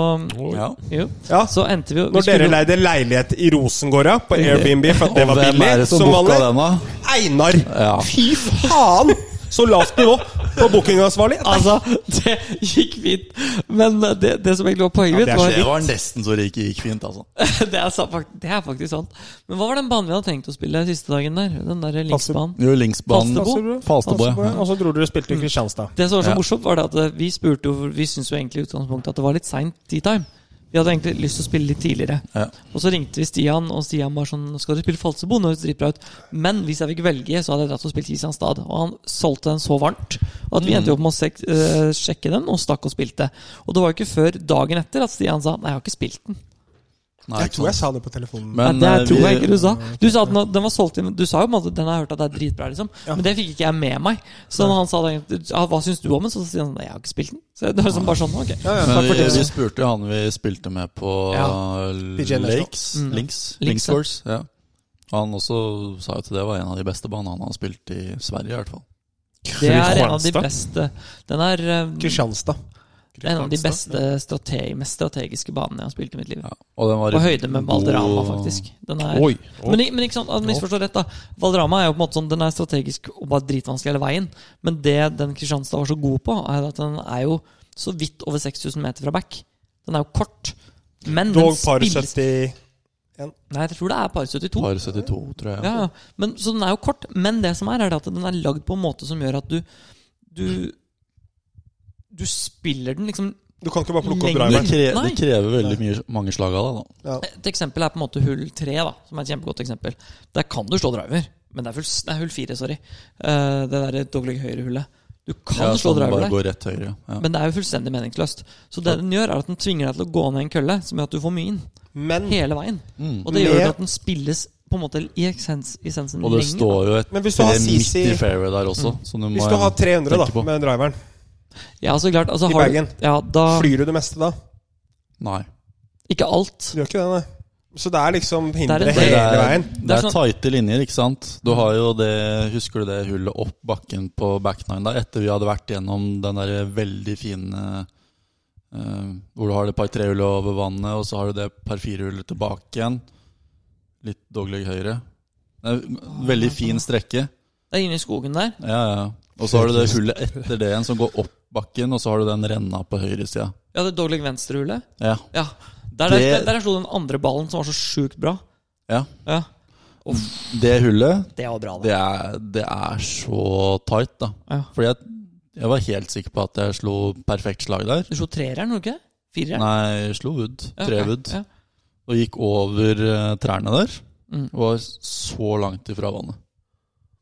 A: Ja.
C: jo,
B: Ja.
C: så endte vi jo vi
B: Når dere
C: skulle-
B: leide leilighet i Rosengård ja,
A: <laughs>
B: på Airbnb for at det
A: Og
B: var
A: hvem er
B: billig
A: det som booka
B: vanlig.
A: den, da?
B: Einar!
A: Ja.
B: Fy faen! Så lavt nivå på bookingansvarlig.
C: <laughs> Altså, det gikk fint. Men eh, det, det som egentlig var poenget mitt,
B: det er
C: var
A: Det var nesten så det ikke gikk fint, altså.
C: <laughs> det er, sa- fakt- det er faktisk sant. Men hva var den banen vi hadde tenkt å spille siste dagen der? Den der linksbanen.
A: Jo, linksbanen
B: Falsterbo.
A: Falsterbo, ja.
B: Og så dro dere og spilte i Kristianstad.
C: Det som var så
A: Ja.
C: morsomt, var det at eh, vi spurte jo Vi syntes jo egentlig i utgangspunktet at det var litt seint tea time. Vi hadde egentlig lyst til å spille litt tidligere.
A: Ja.
C: Og så ringte vi Stian, og Stian var sånn Skal du spille Falsebo? Nå høres det dritbra ut. Men hvis jeg fikk velge, så hadde jeg dratt og spilt Kristianstad. Og han solgte den så varmt at vi endte opp med å sek eh, sjekke den, og stakk og spilte. Og det var jo ikke før dagen etter at Stian sa Nei, jeg har ikke spilt den.
A: Nei,
B: Jeg
A: ikke
B: tror jeg
A: sant.
B: sa det på telefonen.
A: Men
C: Nei,
A: eh,
C: det tror jeg
A: vi-
C: ikke du sa. Du sa at den, den var solgt inn Du sa jo på en måte den har jeg hørt at det er dritbra, liksom. Men det fikk ikke jeg med meg. Så når han sa det, ja, hva syns du om den? Så sier han nei, jeg har ikke spilt den. Så det var liksom bare sånn, ok. Takk
A: Men
C: for
A: vi, vi
C: tipset.
A: spurte jo han vi spilte med på
C: Ja.
A: eh,
B: PGA National.
A: Lakes.
B: Mm.
A: Links.
C: Links, ja.
A: Linksworth. Ja. Han også sa jo at det var en av de beste banene han har spilt i Sverige, i hvert fall.
C: Det er en av de
D: Kristianstad.
C: beste Den er eh,
B: Kristianstad.
C: en av de beste strate- mest strategiske banene jeg har spilt i mitt liv.
A: Ja. Og den var
C: På høyde med Valderama, faktisk. Den er,
D: Oi.
C: Men, i- men ikke sant, altså, misforstå rett, da. Valderama er jo på en måte sånn Den er strategisk og bare dritvanskelig hele veien. Men det den Kristianstad var så god på, er at den er jo så vidt over 6000 meter fra back. Den er jo kort. Men
B: Dog par
C: den spilles
B: 70
C: Nei, jeg tror det er par 72.
A: Par 72, tror jeg.
C: Ja, ja. Men, så den er jo kort. Men det som er, er det at den er lagd på en måte som gjør at du Du, du spiller den liksom
B: Du kan ikke bare plukke opp
C: Lengre.
B: driveren.
A: Det, kre,
C: Nei.
A: det krever veldig mye, mange slag av deg, da.
C: Et eksempel er på en måte hull tre, da, som er et kjempegodt eksempel. Der kan du slå driver, men det er, full, det er hull fire, sorry. Eh, det derre dogleg høyre-hullet. Du kan
A: Ja,
C: slå
A: sånn
C: driver der,
A: bare går rett høyre. Ja.
C: men det er jo fullstendig meningsløst. Så det den gjør, er at den tvinger deg til å gå ned en kølle, som gjør at du får mye inn.
B: Men,
C: Hele veien.
A: Mm.
C: Og det gjør
B: Med-
C: at den spilles på en måte i essens, essensen
A: Og det
C: lenger,
A: står jo et
B: Men hvis du har
A: tre midt
B: CC
A: i fairway der også, så du må
B: hvis du har 300
A: tenke
B: da
A: på.
B: med driveren,
C: da. Ja, så klart. Altså,
B: I
C: har du-
B: Bergen.
C: Ja, da
B: flyr du det meste da?
A: Nei.
C: Ikke alt.
B: Du gjør ikke det, nei. Så det er liksom hindre
C: Det er en del-
A: Det
B: hele
A: er,
B: veien.
A: det
C: Det er
A: er
C: sånn-
A: tighte linjer, ikke sant? Du har jo det, Husker du det hullet opp bakken på backnine der, etter vi hadde vært gjennom den der veldig fine eh, Hvor du har det par tre-hullet over vannet, og så har du det par fire-hullet tilbake igjen. Litt dogleg høyre. Det er en veldig fin strekke.
C: Det er inne i skogen der.
A: Ja, ja. Og så har du det hullet etter det igjen, som går opp bakken, og så har du den renna på høyresida.
C: Ja, det dogleg venstre-hullet.
A: Ja.
C: Ja. Der, der,
A: Det-
C: der, der slo den andre ballen, som var så sjukt bra.
A: ja.
C: Ja,
A: Det hullet
C: Det var bra,
A: Det er, det er så tight, da.
C: Ja.
A: Fordi jeg, jeg var helt sikker på at jeg slo perfekt slag der.
C: Du slo treeren, gjorde du ikke? det? Fireren?
A: Nei, jeg slo wood.
C: Ja,
A: Tre
C: ok,
A: wood.
C: ja.
A: Og gikk over eh, trærne der.
C: Mm.
A: Og var så langt ifra vannet.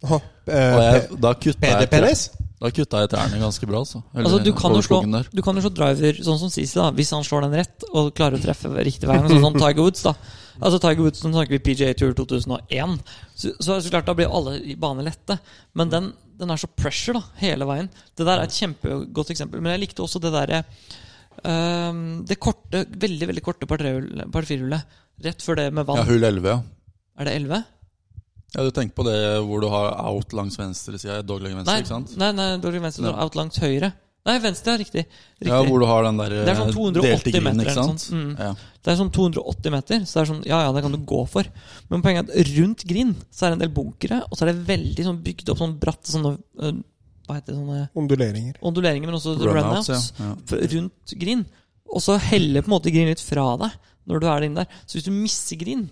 B: Åh,
A: Og
B: eh,
A: jeg, da, kutta jeg, tre-
B: PD-penis?
A: da kutta jeg trærne ganske bra, altså. Eller
C: Altså, du kan, jo
A: over
C: slå,
A: skogen der.
C: du kan jo slå driver sånn som Sisi, da hvis han slår den rett og klarer å treffe riktig veien. Sånn som Tiger Woods. da Altså Tiger Woods, Nå snakker vi PGA Tour 2001. Så, så, er det så klart Da blir alle i bane lette. Men den, den er så pressure da hele veien. Det der er et kjempegodt eksempel. Men jeg likte også det derre ehm, Det korte, veldig veldig korte par trehullet- par firehullet. Rett før det med
A: Ja,
C: vann.
A: hull 11, ja.
C: Er det 11?
A: Ja, Du tenker på det hvor du har out langs venstresida, dogleg venstre,
C: Nei,
A: ikke sant?
C: nei, nei dårlig venstre.
A: Nei.
C: dårlig Out langt høyre. Nei, venstre, ja. Riktig. riktig.
A: Ja, hvor du har den der
C: Det er sånn
A: eh,
C: 280
A: delte grinen,
C: meter
A: ikke
C: eller noe
A: sant?
C: sånt. Mm.
A: Ja.
C: Det er sånn 280 meter, så det er sånn Ja, ja, det kan du gå for. Men poenget er at rundt grind så er det en del bunkere, og så er det veldig sånn bygd opp sånn bratte sånne øh, Hva heter det sånne
B: Onduleringer.
C: onduleringer, men også Altså, runouts.
A: Runouts, ja. ja.
C: f- Rundt grind. Og så heller på en måte grind litt fra deg når du er inne der. Så hvis du misser grind,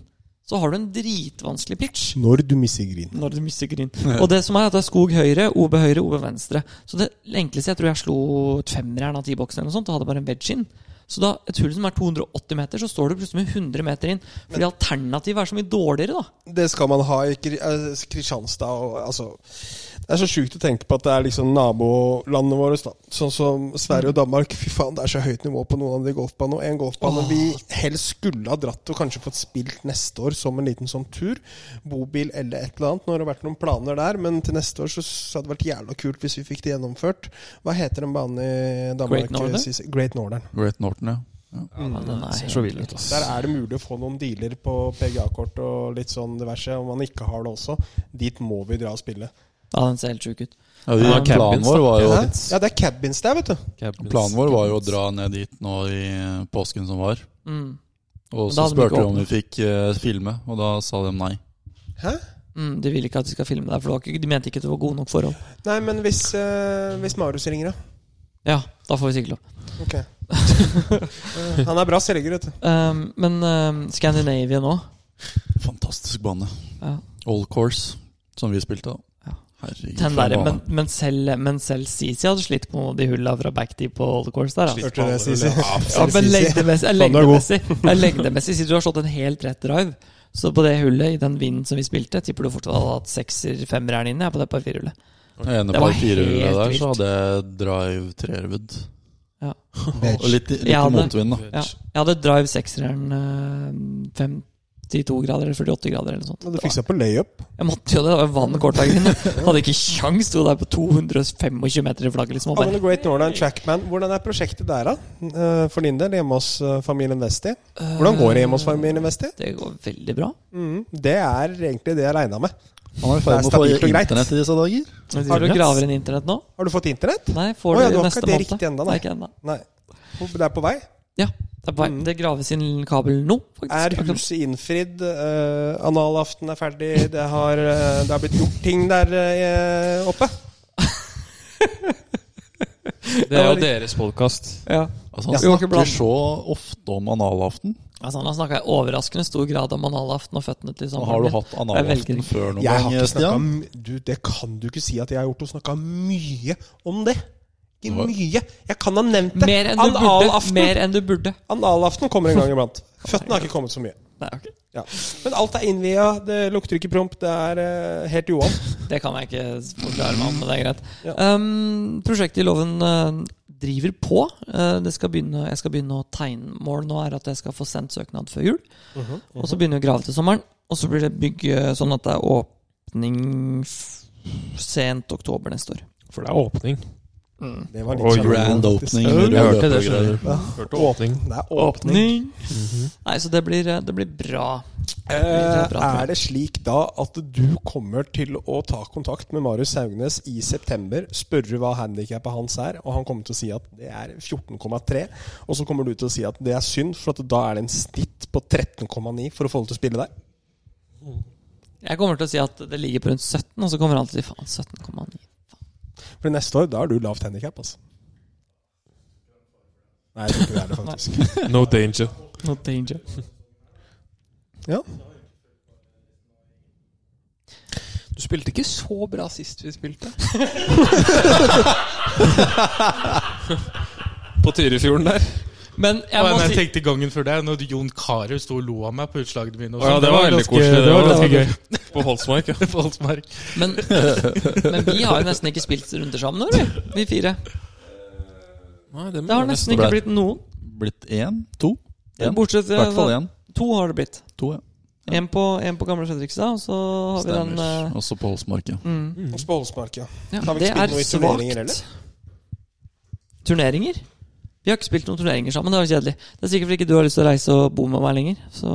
C: så har du en dritvanskelig pitch
B: Når du misser grin.
C: når du mister green. Og det som er at det er skog høyre, OB høyre, OB venstre. Så det enkleste jeg tror jeg slo et femmerjern av tiboksen eller noe sånt, og hadde bare en wedge inn. Så da, et hull som er 280 meter, så står du plutselig med 100 meter inn. Fordi alternativet er så mye dårligere, da.
B: Det skal man ha i Kri- eh, Kristianstad og altså Det er så sjukt å tenke på at det er liksom nabolandene våre, da. Sånn som Sverige og
C: Mm.
B: Danmark. Fy faen, det er så høyt nivå på noen av de golfbanene. Og en golfbane vi helst skulle ha dratt og kanskje fått spilt neste år som en liten sånn tur. Bobil eller et eller annet. Nå har det vært noen planer der, men til neste år så, så hadde det vært jævla kult hvis vi fikk det gjennomført. Hva heter den banen i Danmark?
C: Great Northern?
B: Sisi? Great Northern.
A: Great Norton, ja.
C: Ja, den er
D: Ser
C: helt-
D: så vill ut, altså. ass.
B: Der er det mulig å få noen dealer på PGA-kort og litt sånn diverse, om man ikke har det også. Dit må vi dra og spille.
C: ja, den ser helt sjuk ut.
A: Ja, vi,
D: Ja,
A: planen,
D: cabins, da.
A: vår var jo,
B: Hæ? Ja, det er cabins der, vet du.
D: Cabins.
A: planen vår var jo å dra ned dit nå i eh, påsken som var.
C: Mm.
A: Og
C: Men da
A: så
C: hadde de
A: spurte
C: ikke
A: vi om vi fikk eh, filme, og da sa de nei.
B: Hæ?
C: Mm, de ville ikke at de skal filme deg, for det var ikke, de mente ikke det var gode nok forhold.
B: Nei, men hvis, eh, hvis Marius <laughs> ringer, da?
C: Ja, da får vi sikkert lov.
B: Ok. Eh, Han er bra selger, vet du.
C: Um, men um, Scandinavia nå
A: Fantastisk bane.
C: ja.
A: Old course, som vi spilte,
C: Ja.
A: da.
C: Den
A: Herregud. for en
C: der,
A: bane.
C: men, men, selv, men selv Sisi hadde slitt på de hulla fra backtee på old course der. Altså.
B: Hørte du det, Sisi?
C: Ja, men lengdemessig, jeg
B: <laughs> Faen, du er god.
C: lengdemessig, jeg lengdemessig Siden du har slått en helt rett drive Så på det hullet, i den vinden som vi spilte Tipper du fortsatt hadde hatt sekser, femmer her inne ja, På det par firehullet
A: Det ene
C: Det var
A: par firehjulet
C: helt
A: der,
C: vilt.
A: så hadde jeg drive treerwood. <laughs>
C: Ja.
A: og litt, litt
C: Ja, det-
A: motvind, da.
C: ja, Jeg hadde drive sekseren eh, 52 grader eller 48 grader eller noe sånt
B: Du
C: Det var-
B: fiksa på layup.
C: Jeg måtte jo det, det var vann kort av grunnen <laughs> Hadde ikke sjans, sto der på 225 meter i flagget liksom, og bare,
B: Angående Great Northern Trackman, hvordan er prosjektet der, da? Eh, For din del, hjemme hos eh, familien Westi. Hvordan går det hjemme hos familien Westi?
C: "Øh, Det går veldig bra
B: Mm, det er egentlig det jeg regna med.
A: Han er i
B: Det
A: ferd
B: er
A: med å få
B: stabilt og greit.
A: internett i disse dager.
C: Har du graver inn internett nå?
B: Har du fått internett?
C: Nei, får
B: Å, ja,
C: du
B: du har
C: neste
B: ikke det
C: måned
B: riktig ennå, nei.
C: Nei, ikke ennå
B: Nei. Det er på vei?
C: Ja, det, er på vei. det graves inn kabel nå faktisk.
B: Mm. Er
C: Akkurat nå.
B: huset innfridd? Eh, analaften er ferdig? Det har, eh, det har blitt gjort ting der eh, oppe?
D: Det er jo deres podkast.
C: Ja
A: Altså,
C: Ja.
A: han
C: Vi må ikke blande.
A: snakker så ofte om analaften.
C: Altså Han har snakka i overraskende stor grad om analaften og føttene til
A: Og
C: sommeren.
A: Har du
C: min.
A: hatt
C: Jeg velger
A: analaften
C: ikke.
A: før noen
B: Jeg har
A: gang,
B: ikke snakka
A: eh, Stian?
B: m- du, Det kan du ikke si at jeg har gjort. Og snakka mye om det.
A: Hva?
B: Ikke mye. Jeg kan ha nevnt det.
C: Mer enn du burde.
B: Analaften.
C: Mer enn du burde.
B: Analaften kommer en gang <laughs> iblant. Føttene har ikke kommet så mye.
C: Nei, ok.
B: Ja. Men alt er innvia. Det lukter ikke promp. Det er eh, helt Johan.
C: Det kan jeg ikke forklare meg om, men det er greit.
B: Ja.
C: Um, prosjektet i loven eh, driver på. Eh, det skal begynne, jeg skal begynne å tegne. Målet nå er at jeg skal få sendt søknad før jul.
B: Mhm,
C: Og så begynner vi å grave til sommeren. Og så blir det bygge sånn at det er åpning f- sent oktober neste år.
D: For det er åpning.
B: Det var
D: Oi,
B: litt sånn-
A: Grand opening.
D: Ja, du hørte det,
A: løpegreier.
D: Hørte åpning.
B: Det er åpning.
C: Nei, så det blir, eh, det blir bra.
B: Eh, er det slik da at du kommer til å ta kontakt med Marius Haugnes i september, spørre hva handikappet hans er, og han kommer til å si at det er 14,3. Og så kommer du til å si at det er synd, for at da er det en snitt på 13,9 for å få det til å spille der.
C: Jeg kommer til å si at det ligger på rundt 17, og så kommer han til å si faen, 17,9.
B: For neste år, da er du lavt handikap, altså. Nei, jeg tror ikke det er det, faktisk.
D: No danger.
C: No danger.
B: Ja.
D: Du spilte ikke så bra sist vi spilte. På Tyrifjorden der.
C: Men jeg
F: Og
C: må
F: jeg
C: si
F: tenkte gangen før der, når Jon Carew sto og lo av meg på utslagene mine. og
D: Ja,
F: sånn.
D: det var veldig
F: ganske-
D: koselig, det
F: Det var
D: var
F: ganske gøy.
D: <laughs> På Holsmark, ja.
F: På Holsmark.
C: Men, men vi har jo nesten ikke spilt runder sammen, har vi? Vi fire.
D: Nei, det,
C: Det har nesten ikke blitt noen.
A: Blitt én? To? En.
C: Bortsett
A: I hvert fall
C: fra
A: én.
C: to har det blitt.
A: To, ja.
C: En på, en på Gamle Fredrikstad, og så har vi den
A: Stemmer.
C: eh,
A: Også på Holsmark, ja.
C: mm.
B: Og Spålsmark, ja.
C: ja,
B: Har vi
C: Det
B: ikke spilt
C: er
B: noe i turneringer,
C: svakt. Turneringer? Vi har ikke spilt noen turneringer sammen. Det var kjedelig. Det er sikkert fordi ikke du har lyst til å reise og bo med meg lenger. Så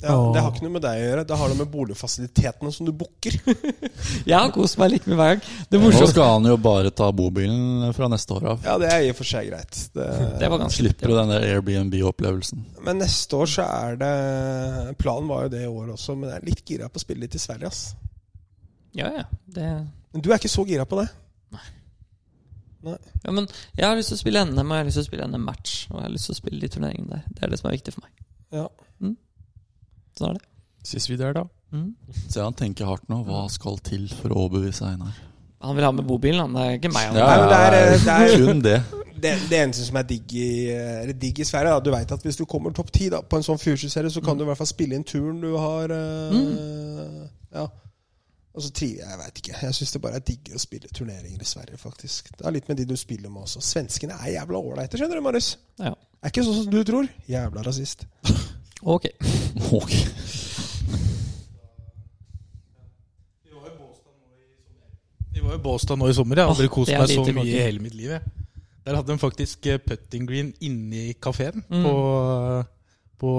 B: ja. Det har ikke noe med deg å gjøre. Det har noe med boligfasilitetene som du booker.
C: jeg har kost meg like mye hver gang. Det
A: Nå
C: morsomste
A: skal han jo bare ta bobilen fra neste år av.
B: Ja, det er i og for seg greit. Det,
C: Det var ganske
A: Slipper jo den der Airbnb-opplevelsen.
B: Men neste år så er det Planen var jo det i år også, men jeg er litt gira på å spille litt i Sverige, ass.
C: Ja, ja. Det
B: Men du er ikke så gira på det?
C: Ja, men jeg har lyst til å spille NM, og jeg har lyst til å spille NM-match. Og jeg har lyst til å spille de turneringene der. Det er det som er viktig for meg. Mm.
B: Ja.
C: Sånn er det. Mm.
D: Sist vi der, da.
A: Se, han tenker hardt nå. Hva skal til for å overbevise Einar?
C: Han vil ha med bobilen, han. Det er ikke meg. Han.
B: Nei, men det er, eh, det er-
A: kun det.
B: Det, det eneste som er digg i, eller digg i Sverige, da, du veit at hvis du kommer topp ti på en sånn Future-serie, så kan du i hvert fall spille inn turen du har eh, Ja. Og så triver jeg, jeg veit ikke. Jeg syns det bare er diggere å spille turneringer i Sverige, faktisk. Det er litt med de du spiller med også. Svenskene er jævla ålreite, skjønner du, Marius.
C: Ja.
B: Er ikke sånn som du tror. Jævla rasist.
C: Ok.
A: Ok.
F: Vi var i Båstad nå i sommer. Jeg har aldri
C: Åh,
F: kost
C: det er
F: meg
C: lite
F: så mye
C: konge.
F: i hele mitt liv. Jeg. Der hadde de faktisk eh, putting green inni kafeen
C: Mm.
F: på, på,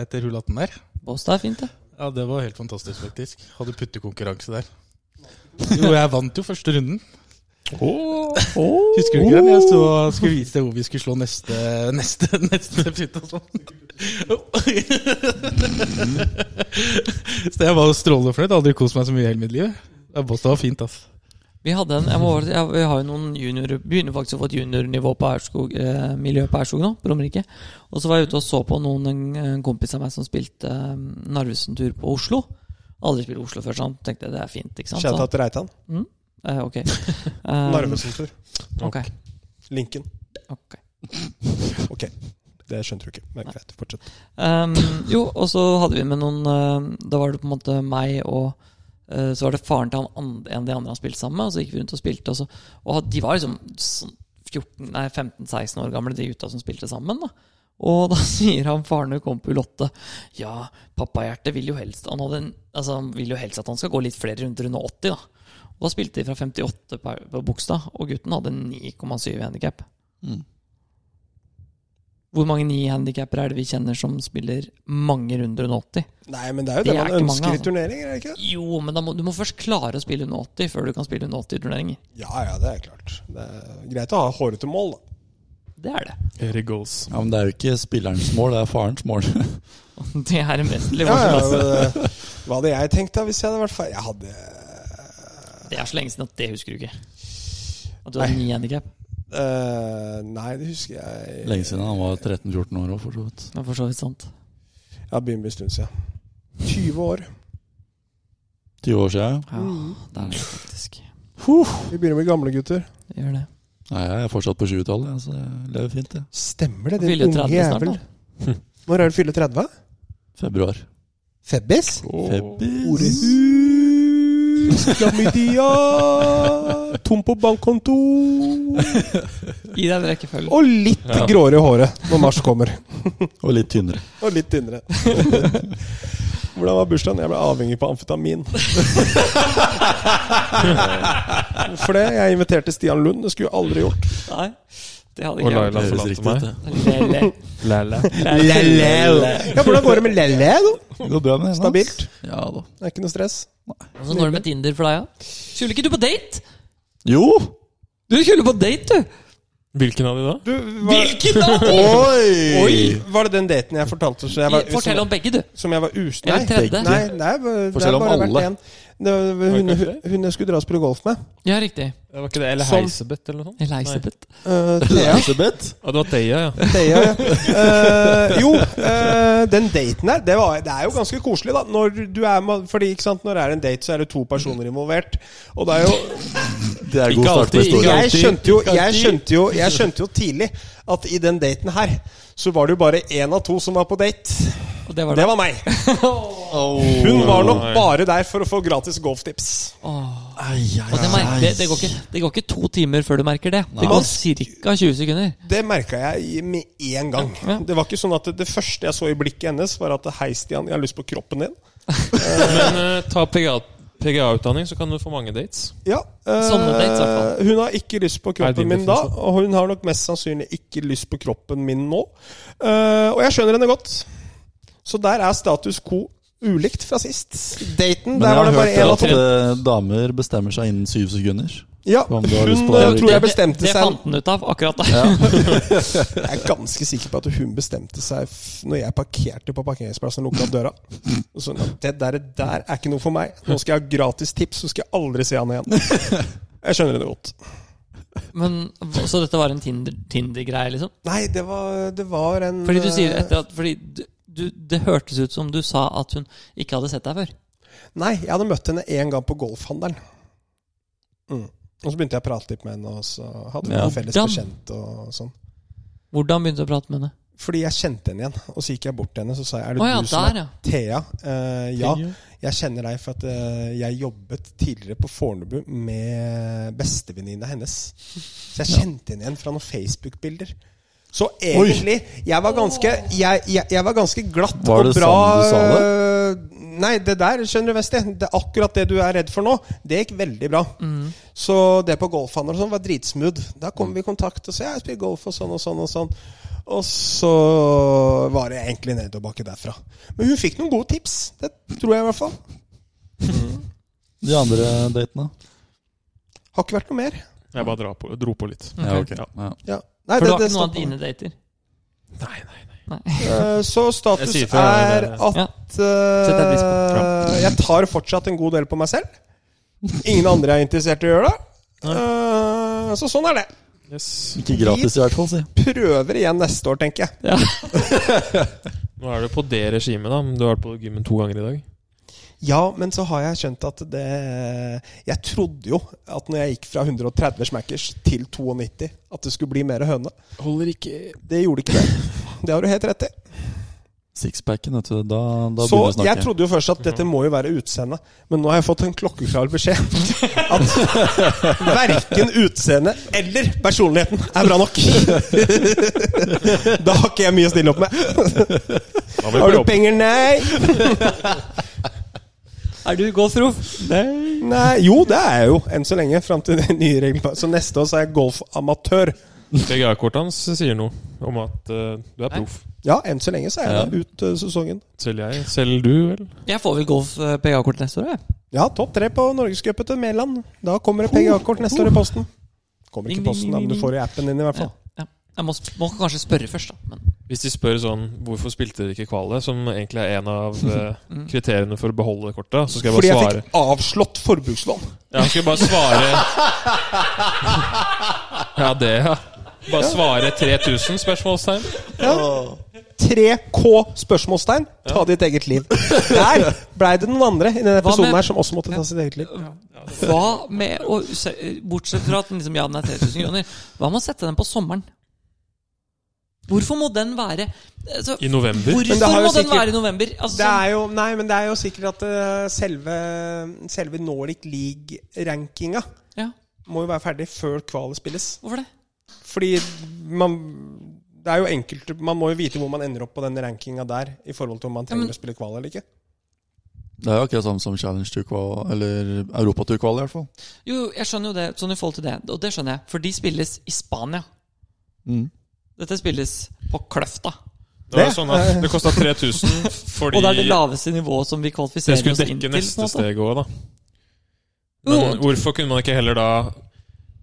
F: etter hull 18 der.
C: Båstad er fint, det.
F: Ja, det var helt fantastisk, faktisk. Hadde puttekonkurranse der. Jo, jeg vant jo første runden. Husker du ikke den? Jeg sto og skulle vise deg hvor vi skulle slå neste Neste, <laughs> neste putt og sånn.
C: <laughs>
F: Så jeg var strålende fornøyd. Aldri kost meg så mye i hele mitt liv. Ja, Båstad var fint, ass.
C: Vi hadde en, jeg må, bare si, jeg, vi har jo noen juniorer Begynner faktisk å få et juniornivå på Aurskog eh, miljøet på Aurskog nå, på Romerike. Og så var jeg ute og så på noen en, en kompis av meg som spilte eh, Narvesen-tur på Oslo. Aldri spilt Oslo før, så han tenkte det er fint, ikke sant?
B: Shout out til Reitan.
C: Så, eh,
F: <laughs>
C: ok.
B: Mm.
C: Um,
B: Narvesen-tur.
C: ok.
B: Linken.
C: ok.
B: <laughs> Ok. Det skjønte du ikke. Men greit, fortsett.
C: Um, jo, og så hadde vi med noen eh, Da var det på en måte meg og eh, Så var det faren til han and- en av de andre han spilte sammen med. Og så gikk vi rundt og spilte. Og, så, og had- de var liksom sånn 14 nei, 15-16 år gamle, de gutta som spilte sammen. da Og da <laughs> sier han faren til kompul Lotte Ja, pappahjerte vil jo helst Han hadde en, altså, han vil jo helst at han skal gå litt flere runder under 80, da. Og da spilte de fra 58 på, på Bogstad, og gutten hadde 9,7 i handikap. Hvor mange ni-handikapper er det vi kjenner som spiller mange runder under 80?
B: Nei, men det er jo
C: Det
B: det,
C: er
B: man
C: ikke
B: ønsker
C: mange,
B: i
C: altså.
B: turneringer, er det ikke det?
C: Jo, men da må, du må først klare å spille under 80 før du kan spille under 80 i turneringer.
B: Ja, ja, det er klart. Det er greit å ha hårete mål, da.
C: Det er det. <laughs>
D: Erik Goals.
A: Ja, men det er jo ikke spillerens mål, det er farens mål. <laughs>
C: Det er en vesentlig
B: Ja, ja,
C: forskjell. altså.
B: men, eh, hva hadde jeg tenkt da, hvis jeg hadde vært ferdig? Jeg hadde eh,
C: Det er så lenge siden at det husker du ikke. At du har ni handikap.
B: eh, Nei, det husker jeg
A: Lenge siden han var 13-14 år òg, for så vidt.
C: Det er for så vidt sant.
B: Ja, begynner å bli en stund siden. 20 år.
A: 20 år siden.
B: Mm.
C: Ja, det er det faktisk.
B: Vi begynner med gamle gutter.
C: Det Gjør det.
A: Nei, jeg er fortsatt på 20-tallet, jeg, så jeg lever fint, jeg.
B: Stemmer det,
C: Fyller
B: din unge
C: 30 snart,
B: jævel.
C: da.
B: Når er du fyller 30?
A: Februar.
B: Febbis?
A: Febbis.
B: Orehus, klamydia, tom på bankkonto
C: I den rekkefølgen.
B: Og litt gråere i håret når mars kommer.
A: <laughs> Og litt tynnere.
B: Og litt tynnere. <laughs> Hvordan var bursdagen? Jeg ble avhengig på <laughs> amfetamin. Hvorfor det? Jeg inviterte Stian Lund. Det skulle jeg aldri gjort.
C: Nei, det hadde
D: Og
C: ikke jeg
A: Det
D: Laila
A: høres
D: forlater
A: riktig ut,
D: meg.
A: det.
C: Lele.
B: Ja, Hvordan går det med Lelle? da?
A: Det går bra med det.
B: Stabilt?
A: Ja da.
B: Det er ikke noe stress?
C: Hvordan går det med Tinder for deg, da? Skulle ikke du på date?
A: Jo!
C: Du skulle på date, du!
D: Hvilken av de da?
B: Du, var,
C: Hvilken date?
A: Oi!
B: oi, var det den daten jeg fortalte så <laughs> jeg var,
C: Fortell
B: som,
C: om begge, du.
B: som jeg var us... Nei,
C: Eller tredje.
B: nei, nei det
A: Fortell
B: har
A: om
B: bare vært
A: alle.
B: en. Det var Hun, hun jeg skulle dra og spille golf med.
C: Ja, riktig.
D: Det var ikke det, Eller
B: Som-
D: Heisebeth eller noe sånt?
C: Elisabeth.
B: Eh, Thea.
A: Elisabeth?
D: Ja, det var Deia, ja.
B: Thea, ja. Eh, jo, eh, den daten her, det, var, det er jo ganske koselig, da. Når du er med, fordi ikke sant, når det er en date, så er det to personer involvert. Og det er jo
A: Det er
D: Ikke
A: god start på
D: alltid, ikke
A: historien.
B: Jeg skjønte jo, jeg skjønte jo, jeg skjønte jo tidlig at i den daten her så var det jo bare én av to som var på date.
C: Og det var
B: Det
C: det.
B: var meg. Hun var nok bare der for å få gratis golftips.
C: Og det, merker, det, det, går ikke, det går ikke to timer før du merker det. Det går ca. 20 sekunder.
B: Det merka jeg i- med en gang. Det var ikke sånn at det, det første jeg så i blikket hennes, var at 'Hei, Stian, jeg har lyst på kroppen din'.
D: Men eh, ta PGA PGA-utdanning, så kan du få mange dates.
B: Ja, eh,
A: Sånn
C: Sånne dates, i hvert
B: Hun har ikke lyst på kroppen
D: Nei,
B: min
D: det
B: da,
D: finnes
B: og hun har nok mest sannsynlig ikke lyst på kroppen min nå. Eh, og jeg skjønner henne godt. Så der er status quo ulikt fra sist. Daten,
A: Men
B: der
A: jeg
B: var
A: har
B: det bare én av
A: hørt
B: to.
A: at eh, damer bestemmer seg innen syv sekunder.
B: Ja,
A: om
B: hun
A: du har lyst på det eller
B: eh, tror jeg
C: Det-
B: bestemte
C: Det
B: seg
C: fant han ut av akkurat da.
B: Jeg er ganske sikker på at hun bestemte seg f- Når jeg parkerte på parkeringsplassen og lukket opp døra. Og sånn, det der, der er ikke noe for meg. Nå skal jeg ha gratis tips, så skal jeg aldri se han igjen. Jeg skjønner henne godt.
C: <laughs> Men, så dette var en Tinder- Tinder-greie, liksom?
B: Nei, det var, det var en
C: Fordi du sier
B: eh,
C: etter at Fordi du, du, det hørtes ut som du sa at hun ikke hadde sett deg før.
B: eh, Nei, jeg hadde møtt henne en gang på golfhandelen. Mm. Og så begynte jeg å prate litt med henne, og så hadde vi
A: Ja.
B: noen felles
C: Hvordan?
B: bekjent. og sånn.
C: Hvordan begynte du å prate med henne?
B: Fordi jeg kjente henne igjen, og så gikk jeg bort til henne så sa jeg, er det
C: Å ja,
B: du som
C: der,
B: er
C: ja.
B: Thea? Eh, ja, jeg kjenner deg for at eh, jeg jobbet tidligere på Fornebu med bestevenninna hennes. Så jeg kjente henne igjen fra noen Facebook-bilder. Så egentlig, jeg var ganske Jeg, jeg, jeg var ganske glatt
A: Var det
B: og bra
A: sånn du sa det?
B: Eh, Nei, det der, skjønner du, Vesti. Det er akkurat det du er redd for nå. Det gikk veldig bra.
A: Mm.
B: Så det på golfhandelen og sånn var dritsmooth. Da kom vi i kontakt og sa ja, jeg spiller golf og sånn og sånn og sånn. Og så var det egentlig nedoverbakke derfra. Men hun fikk noen gode tips. Det tror jeg i hvert fall.
A: De andre datene?
B: Har ikke vært noe mer.
D: Jeg bare drar på, dro på litt.
C: Mm.
A: Ja, ok.
D: Ja.
A: Ja.
B: Ja. Nei,
C: For du har ikke noen av
B: stoppet.
C: dine dater?
D: Nei, nei, nei.
B: Eh, Så status
D: Jeg sier fra,
B: er
D: det-
B: at
C: Ja.
B: eh,
C: Setter jeg pris
B: jeg tar fortsatt en god del på meg selv. Ingen andre er interessert i å gjøre det. Eh, så sånn er det.
D: Yes.
A: Ikke gratis, i hvert fall, si.
B: Prøver igjen neste år, tenker jeg.
C: Ja.
D: Nå er du på det regimet, da. men Du har vært på gymmen to ganger i dag.
B: Ja, men så har jeg skjønt at det Jeg trodde jo at når jeg gikk fra 130 smackers til 92, at det skulle bli mer høne.
D: Holder ikke
B: Det gjorde <laughs> ikke det. Det har du helt rett i.
A: Sixpacken, vet du. Da, da
B: Så
A: begynner vi
B: jeg
A: å snakke.
B: trodde jo først at dette må jo være utseende, men nå har jeg fått en klokkeklar beskjed.
A: <laughs>
B: At verken utseendet eller personligheten er bra nok. Da har ikke jeg mye å stille opp med. Har du penger? Nei.
C: Er du golfproff?
B: Nei. Jo, det er jeg jo, enn så lenge. Fram til det nye regelverket. Så neste år så er jeg golfamatør.
D: PGA-kortet hans sier noe om at eh, du er proff.
B: Ja, enn så lenge så er jeg det ut eh, sesongen.
D: Selv jeg. Selv du, vel?
C: Jeg får vel eh, golf-PGA-kort neste år, jeg.
B: Ja, topp tre på norgescupet til Mæland. Da kommer det PGA-kort neste år i posten. Kommer ikke i posten, da, men du får det i appen din i hvert
C: Ja.
B: fall.
C: Ja. Jeg må, sp- må kanskje spørre først, da. Men
D: Hvis de spør sånn Hvorfor spilte dere ikke kvale, som egentlig er en av eh, kriteriene for å beholde kortet, så skal
B: Mm.
D: jeg
B: Fordi
D: bare
B: jeg
D: svare.
B: fikk avslått forbrukslån.
D: Ja, skal jeg bare
B: <laughs>
D: svare Ja, det, ja. Bare svare 3000 spørsmålstegn?
B: 3K spørsmålstegn. Ta ditt eget liv. Der blei det noen andre i denne episoden
C: med-
B: her som også måtte ta sitt eget liv.
C: Hva med å se- Bortsett fra at den liksom, ja, den er 3000 kroner. Hva med å sette den på sommeren? Hvorfor må den være altså,
D: I november.
C: Hvorfor
B: Men det har
C: må
B: jo
C: den
B: sikkert-
C: være i november? Altså,
B: Det
C: sånn-
B: er jo, nei, men det er jo sikkert at eh, selve, selve Nordic League-rankinga
C: ja,
B: må jo være ferdig før kvalet spilles.
C: hvorfor det?
B: Fordi man det er jo enkelte, Man må jo vite hvor man ender opp på den rankinga der, i forhold til om man trenger
C: men-
B: å spille kval eller ikke.
A: Det er jo akkurat samme som Challenge Tour-kval, eller Europatur-kval i hvert fall.
C: Jo, jeg skjønner jo det, sånn i forhold til det. Og det skjønner jeg, for de spilles i Spania.
A: Mm.
C: Dette spilles på Kløfta.
D: Det var jo sånn at det kosta 3000 fordi
C: Og det er det
D: det
C: laveste nivået som vi kvalifiserer
D: skulle
C: oss inn
D: dekke
C: til. på
D: neste
C: en måte.
D: steg òg, da.
C: Jo,
D: Men hvorfor kunne man ikke heller da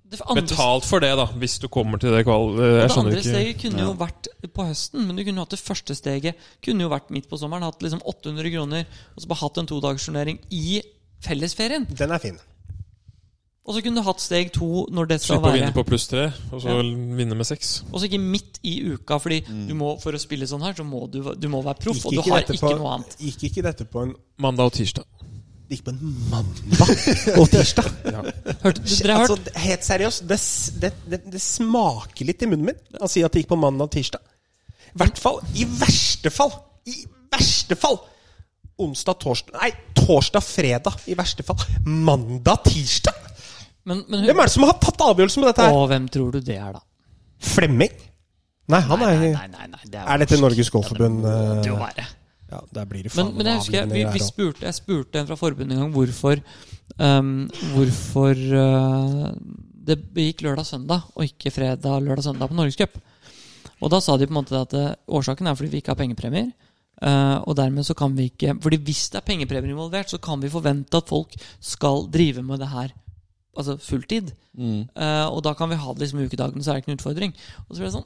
C: det andre,
D: betalt for det, da? Hvis du kommer til det kval... Jeg
C: det
D: skjønner
C: andre
D: ikke.
C: steget kunne jo vært på høsten, men du kunne jo hatt det første steget Kunne jo vært midt på sommeren, hatt liksom 800 kroner, og så bare hatt en todagsturnering i fellesferien.
B: Den er fin.
C: Og så kunne du hatt steg to når det skal
D: Slippe å
C: være.
D: vinne på pluss tre, og så vinne med seks.
C: Og så ikke midt i uka, fordi
D: Mm.
C: du må, for å spille sånn her, så må du, du må være proff,
B: Gikk
C: og du
B: ikke
C: har
B: dette
C: ikke
B: på-
C: noe annet.
B: Gikk ikke dette på en
D: Mandag og tirsdag.
B: Gikk på en mandag og tirsdag?
C: Hørte, du, dere har hørt
B: Altså, helt seriøst, det, s- det, det, det smaker litt i munnen min å si at det gikk på mandag og tirsdag. I hvert fall. I verste fall. I verste fall. Onsdag, torsdag Nei, torsdag, fredag. I verste fall. Mandag, tirsdag?
C: men, men,
B: Hvem er det som har tatt avgjørelsen på dette her?
C: Og hvem tror du det er, da?
B: Flemming? Nei, han er
C: Nei, nei, nei, nei, det
B: Er dette Norges Golfforbund?
C: Det
B: eh,
C: må jo være.
B: Ja, der blir det
C: Men, men jeg husker jeg, vi, vi spurte, jeg spurte en fra forbundet en gang hvorfor ehm, Hvorfor eh, det gikk lørdag-søndag og ikke fredag-lørdag-søndag på Norgescup. Og da sa de på en måte at eh, årsaken er fordi vi ikke har pengepremier. eh, og dermed så kan vi ikke Fordi hvis det er pengepremier involvert, så kan vi forvente at folk skal drive med det her Altså fulltid.
A: Mm.
C: Eh, og da kan vi ha det liksom ukedagene, så er det ikke noen utfordring. Og så ble det sånn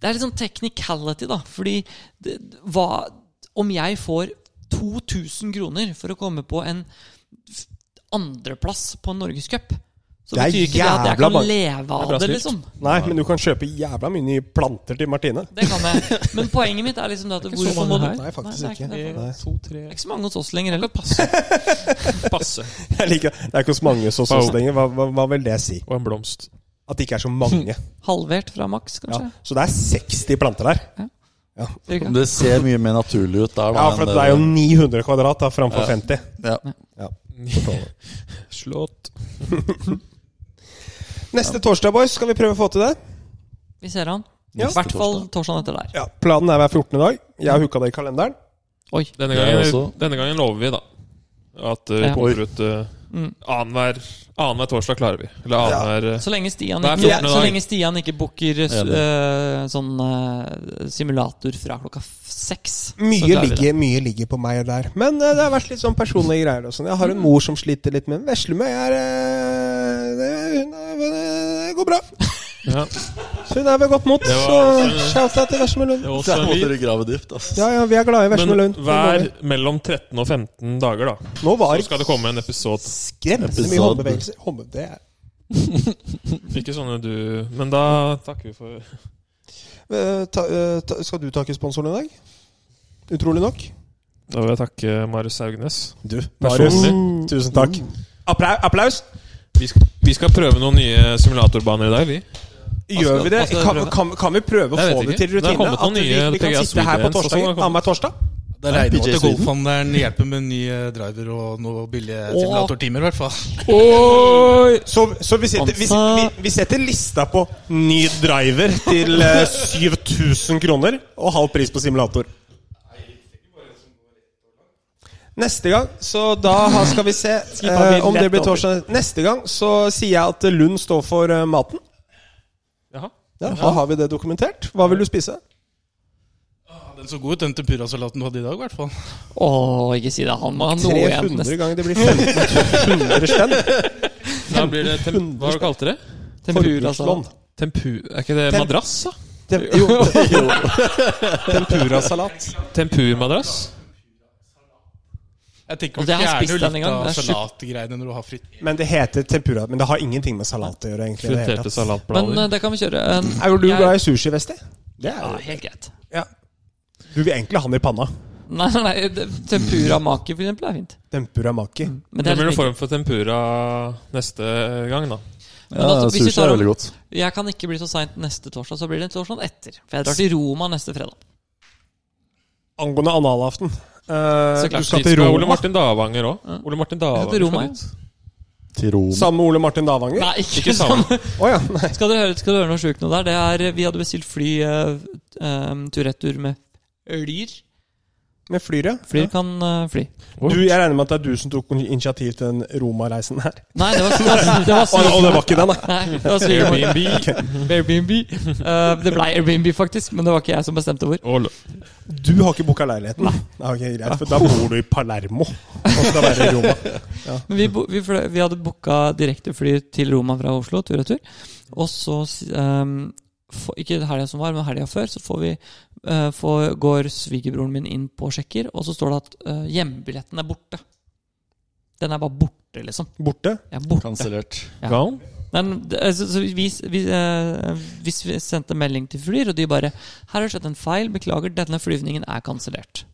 C: Det er litt sånn technicality, da. Fordi det, hva Om jeg får 2000 kroner for å komme på en f- andreplass på en norgescup, så
B: Det er
C: betyr ikke det at jeg
B: jævla
C: kan
B: mange-
C: leve av
D: bra
C: det,
D: stilt.
C: liksom.
B: Nei, men du kan kjøpe jævla mye nye planter til Martine.
C: Det kan jeg. Men poenget mitt er liksom <laughs> det at hvorfor må du
B: Nei, faktisk
C: det er
B: ikke.
C: det er
B: Nei.
D: To, tre
C: det er ikke så mange hos oss lenger heller.
D: Passe.
B: <laughs> Jeg liker det. Det er ikke så mange hos oss lenger. Hva, hva, hva vil det si?
D: Og en
C: <laughs>
D: blomst.
B: At det ikke er så mange.
C: Halvert fra maks,
B: Ja.
C: kanskje.
B: Så det er 60 planter der.
C: Cirka.
A: Det ser mye mer naturlig ut der. da,
B: Ja,
A: enn
B: for det er jo 900 kvadrat da, framfor 50.
A: ja.
D: Slått.
B: Neste torsdag, boys, skal vi prøve å få til det.
C: Vi ser han.
B: Ja.
C: I hvert fall torsdagen etter der.
B: Ja, Planen er hver 14. dag. Jeg har hooka det i kalenderen.
C: Oi.
D: Denne
A: Jeg
D: gangen,
A: også.
D: denne gangen lover vi, da. At uh, vi
C: Ja.
D: pumper ut uh,
C: Mm.
D: annenhver annenhver torsdag klarer vi. Eller annenhver uh,
C: Så lenge Stian
D: Hver
C: ikke,
D: 14.
C: så
D: dag.
C: lenge Stian ikke booker eh, s-
A: Enig.
C: eh, sånn eh, simulator fra klokka f- seks så
B: Mye
C: klarer vi det.
B: ligger, mye ligger på meg der. Men eh, det har vært litt sånn personlige greier. og sånn. Jeg har en mor som sliter litt med veslemøy. Er, eh, det, hun er, det går bra.
D: <laughs> ja.
B: Så hun er ved godt mot.
D: Det
B: Så
D: var- altså-
B: shout-out til Veslemøy Lund.
D: Det er
A: Det
D: også
A: er
D: en
A: måter
D: hvil.
A: å grave dypt, altså.
B: Ja, ja, vi er glade i Veslemøy
D: Men
B: Lund.
D: hver mellom 13 og 15 dager, da,
B: Nå var
D: så
B: det
D: skal det komme en episode.
B: skremmende mye
A: Episode.
B: håndbevegelser. Håndbe- det er-
D: Ikke sånne du Men da takker vi for
B: Eh, ta, eh, ta, skal du takke sponsoren i dag? Utrolig nok.
D: Da vil jeg takke Marius Haugnes.
B: Du,
D: Personlig.
B: tusen takk. Appla- Mm. applaus!
D: Vi skal, vi skal prøve noen nye simulatorbaner i dag, vi.
B: Gjør vi det? Kan,
D: Hva skal dere Altså, prøve?
B: kan, kan vi prøve å
D: Jeg vet
B: få det
D: ikke.
B: til
D: Det har
B: rutine?
D: kommet noen
B: At vi,
D: nye
B: vi kan
D: PGA
B: sitte her på
D: Sweden, så sånn har
B: torsdag?
D: det kommet.
B: Annenhver torsdag?
F: Da regner vi med
A: PJ
F: at
A: Sweden.
F: golfhandleren hjelper med ny eh, driver og noen billige simulatortimer, i hvert fall.
B: Så, så vi, setter, vi, vi, vi setter lista på ny driver til eh, 7000 kroner og halv pris på simulator. Neste gang, så da har- skal vi se eh, om det blir torsdag. Neste gang så sier jeg at Lund står for eh, maten.
D: Jaha.
B: Ja, da har vi det dokumentert. Hva vil du spise?
F: Den så god ut, den tempurasalaten du hadde i dag, i hvert fall.
C: Å, ikke si det. Han må ha noe igjen.
B: 300 ganger det blir 1500 spenn.
C: <laughs>
D: Da blir det tem Hva har du kalt det?
C: Tempura, altså.
B: Forbrukslån.
D: Tempu... Er ikke det
B: Tem-
D: madrass, da?
B: Tem jo. <laughs> Tempurasalat.
D: Tempurmadrass?
F: Jeg tenker
C: Og
F: vi
C: det har jeg
F: fjerner
C: spist
F: jo
C: en
F: litt
C: gang,
F: av
C: det er sjukt.
F: salatgreiene når du har fritt.
B: Men det heter tempura. Men det har ingenting med salat å gjøre. egentlig i det hele
D: Friterte
B: tatt.
D: salatblader.
C: Men eh, det kan vi kjøre. Eh,
B: Er jo du
C: Jeg-
B: glad i sushi, Vesti? Det er
C: Ja,
B: jo
C: helt greit.
B: ja. Du vil egentlig ha den i panna.
C: Nei, nei, nei det- tempura maki, for eksempel, er fint.
B: Tempura maki.
C: Men det
D: Det
C: er
D: blir
C: liksom
D: en form for tempura neste gang, da.
C: Men altså, hvis vi
A: sushi
C: tar
A: er
C: om-
A: veldig godt.
C: ikke- Jeg kan ikke bli så seint neste torsdag, så blir det torsdag etter. For jeg drar til Roma neste fredag.
B: Angående analaften eh,
C: Så klart.
B: Du skal
D: Dit
B: til
D: skal Ole
B: Roma.
D: Martin Davanger òg. Ole Martin
C: Jeg skal til
D: Davanger
C: Roma,
D: skal
C: ja.
D: dit.
A: Til Rom.
B: Sammen med Ole Martin Davanger?
C: Nei, ikke,
D: Ikke
C: sånn.
D: sammen.
B: Å ja. Nei.
C: Skal dere høre, skal dere høre noe sjukt noe der? Det er, vi hadde bestilt fly eh, eh, tur-retur med Flyr.
B: Med flyr, ja.
C: Flyr kan eh, fly.
B: Du, jeg regner med at det er du som tok initiativ til den Roma-reisen <laughs> her.
C: Nei, det var <laughs> det var
B: Og, og det var ikke den, da.
C: Nei, det var svigermor.
D: Airbnb.
C: <laughs> Airbnb. Eh, det ble Airbnb, faktisk, men det var ikke jeg som bestemte hvor.
D: Og
B: Du har ikke booka leiligheten? Nei. Ok, greit, for da bor du i Palermo. Og skal være i Roma.
C: Men vi, bo- vi, fløy- vi hadde booka direktefly til Roma fra Oslo, tur-retur. Og så s- ehm, få- Ikke helga som var, men helga før, så får vi, eh, får, går svigerbroren min inn på og sjekker, og så står det at eh, hjemmebilletten er borte. Den er bare borte, liksom.
B: <laughs> Borte.
C: Ja, borte.
A: Kansellert.
D: Gal.
C: Men, det- altså, så vi, vi, eh, hvis vi sendte melding til Flyr, og de bare 'Her har det skjedd en feil. Beklager, denne flyvningen er kansellert'.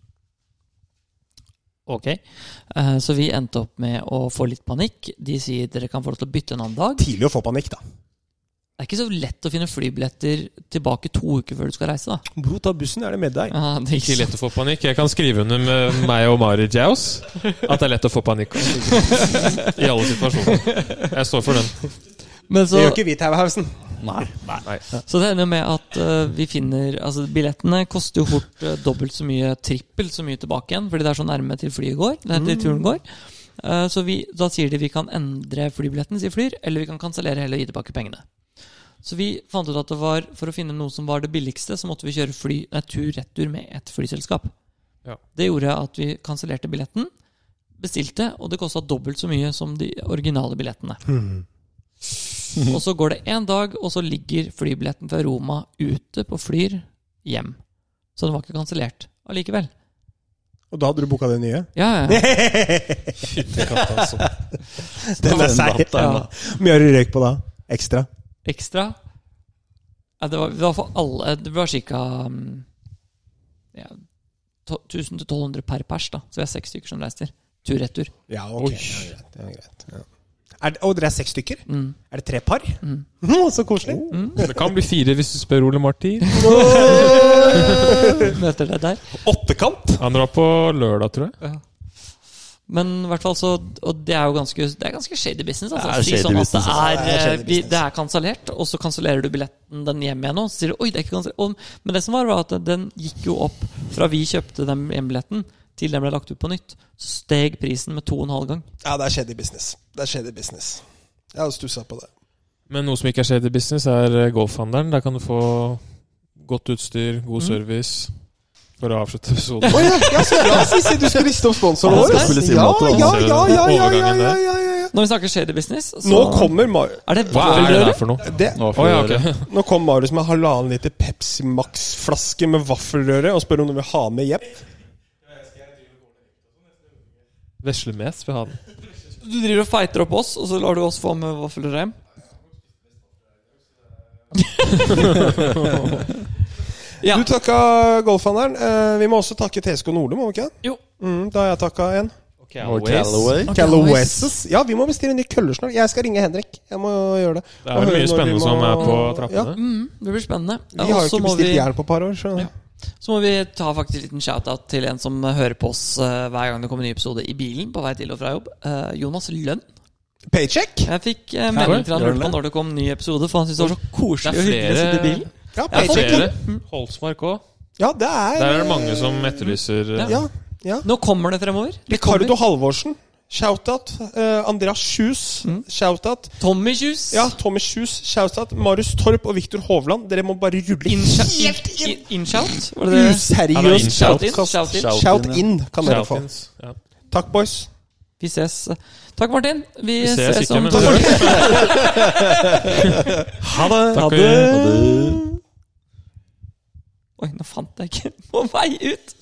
C: Ok. Eh, Så vi endte opp med å få litt panikk. De sier 'dere kan få lov til å bytte en annen dag'.
B: Tidlig å få panikk, da.
C: Det er ikke så lett å finne flybilletter tilbake to uker før du skal reise, da.
B: Bro, ta bussen, er det med deg?
C: Ja, det er
D: Ikke
C: ikke så-
D: lett å få panikk. Jeg kan skrive under med meg og Mari Jaus at det er lett å få panikk. I alle situasjoner. Jeg står for den.
C: Men
B: Det gjør
C: så,
B: ikke vi, Tauhausen.
A: Nei.
C: så det ender jo med at eh, vi finner Altså, billettene koster jo fort eh, dobbelt så mye, trippelt så mye tilbake igjen, fordi det er så nærme til flyet går. Eller til turen går. Eh, Så vi, da sier de vi kan endre flybilletten, sier Flyr, eller vi kan kansellere hele og gi tilbake pengene. Så vi fant ut at det var, for å finne noe som var det billigste, så måtte vi kjøre fly, nei, tur retur med et flyselskap.
D: Ja.
C: Det gjorde at vi kansellerte billetten, bestilte, og det kosta dobbelt så mye som de originale billettene. og så går det én dag, og så ligger flybilletten fra Roma ute på Flyr hjem. Så den var ikke kansellert allikevel.
B: <laughs> Og da hadde du booka <laughs> det nye?
C: Ja, ja, ja.
B: Den er seig.
C: <laughs> ja.
B: Hvor mye har du røyk på da? Ekstra?
C: ekstra. Ja, det, var, det var for alle Det var ca. Ja, to- 1000-1200 per pers, da. Så vi er seks stykker som reiser. Tur-retur.
B: Ja, ok. Ja, greit, ja, greit. Ja. Er det, og dere er seks stykker?
C: Mm.
B: Er det tre par?
C: Mm.
B: <laughs> så koselig.
D: Det kan bli fire hvis du spør Ole Martin.
C: Møter deg der.
B: Åttekant?
D: Han drar på lørdag, tror jeg.
C: Men i hvert fall så Og det er jo ganske Det er ganske shady business. Altså.
A: Det er
C: Si
A: shady
C: sånn at
A: business,
B: Det
C: det
B: er
C: er, eh,
B: shady
C: vi-
B: business.
C: det er kansellert, og så kansellerer du billetten den hjem igjen. Og så sier du oi, det er ikke kansellert. Og- Men det som var, var at den gikk jo opp fra vi kjøpte den hjembilletten til den ble lagt ut på nytt. Så steg prisen med to og en halv gang.
B: Ja, det er shady business. Det er shady business. Jeg hadde stussa på det.
D: Men noe som ikke er skjedd i business, er eh, golfhandelen. Der kan du få godt utstyr, god service. For å avslutte episoden.
B: ja, ja, så bra, Sissi! Du skulle riste opp sponsoren
A: Han skal
B: vår.
A: spille
B: Ja,
A: simulator, han.
B: ja, ja, ja, ja, ja,
D: Overgangen
B: ja,
D: der.
B: ja, ja.
C: Når vi snakker shady business, så
B: Nå kommer Mar
C: Er det
D: Hva er det
C: vaffelrøre?
D: der for noe?
B: det,
A: Nå
D: Å
A: får
D: ja,
A: vi gjøre det.
D: ok. <laughs>
B: Nå kom Marius med halvannen liter Pepsi Max-flaske med vaffelrøre og spør om du vil ha med hjem.
D: Veslemes vil ha den.
C: Du driver og feiter opp oss, og så lar du oss få med vafler hjem? ja.
B: Du takka golfhandelen. Eh, vi må også takke TSK Nordli, må vi ikke? det?
C: Jo.
B: Mm, da har jeg takka en.
A: Og Callaway.
C: Ok,
B: Calaweses. Ja, vi må bestille en ny kølle snart. Jeg skal ringe Henrik. Jeg må gjøre det. Og
D: Det er
B: høre når
D: jo mye
B: vi
D: spennende
B: må-
D: som er på
B: Ja.
D: trappene.
C: Mm, det blir spennende.
B: Vi har
C: Og
B: jo
C: så
B: ikke
C: må
B: bestilt
C: vi-
B: jern på et par år, så
C: Ja. Så må vi ta faktisk en liten shout-out til en som hører på oss eh, hver gang det kommer en ny episode i bilen på vei til og fra jobb. Eh, Jonas Lønn.
B: Paycheck!
C: Jeg fikk eh, melding til han lurte på når det kom ny episode, for han syntes det var så
D: Det
C: koselig
D: er
C: og hyggelig å sitte i bilen.
D: flere,
B: Ja,
C: Ja, folk-
B: paycheck.
D: flere. Holsmark òg.
B: ja det er
D: Der er det mange som etterlyser eh,
B: Ja. ja.
C: Nå kommer det fremover. Det
B: Ricardo
C: kommer.
B: Halvorsen. Shout-out. Eh, Andreas Kjus.
C: Mm.
B: Shout-out.
C: Tommy Kjus.
B: Ja, Tommy Kjus. Shout-out. Marius Torp og Viktor Hovland. Dere må bare rulle helt
C: Innshout?
B: inn!
C: In, in-shout? Var det det?
D: Ja, det er
B: Useriøs
D: inn-
C: Shout in,
B: podcast.
C: shout in.
A: Shout
B: Shout
A: in, ja.
B: in kan dere få.
D: shoutins. Ja.
B: Takk, boys.
C: Vi ses. Takk, Martin. Vi,
D: Vi ses
C: ses
D: ikke,
C: om
D: men
C: to
D: vi
C: år.
B: Ha det.
D: eh, Takk. Ha det.
C: Oi, nå fant jeg ikke <laughs> på vei ut.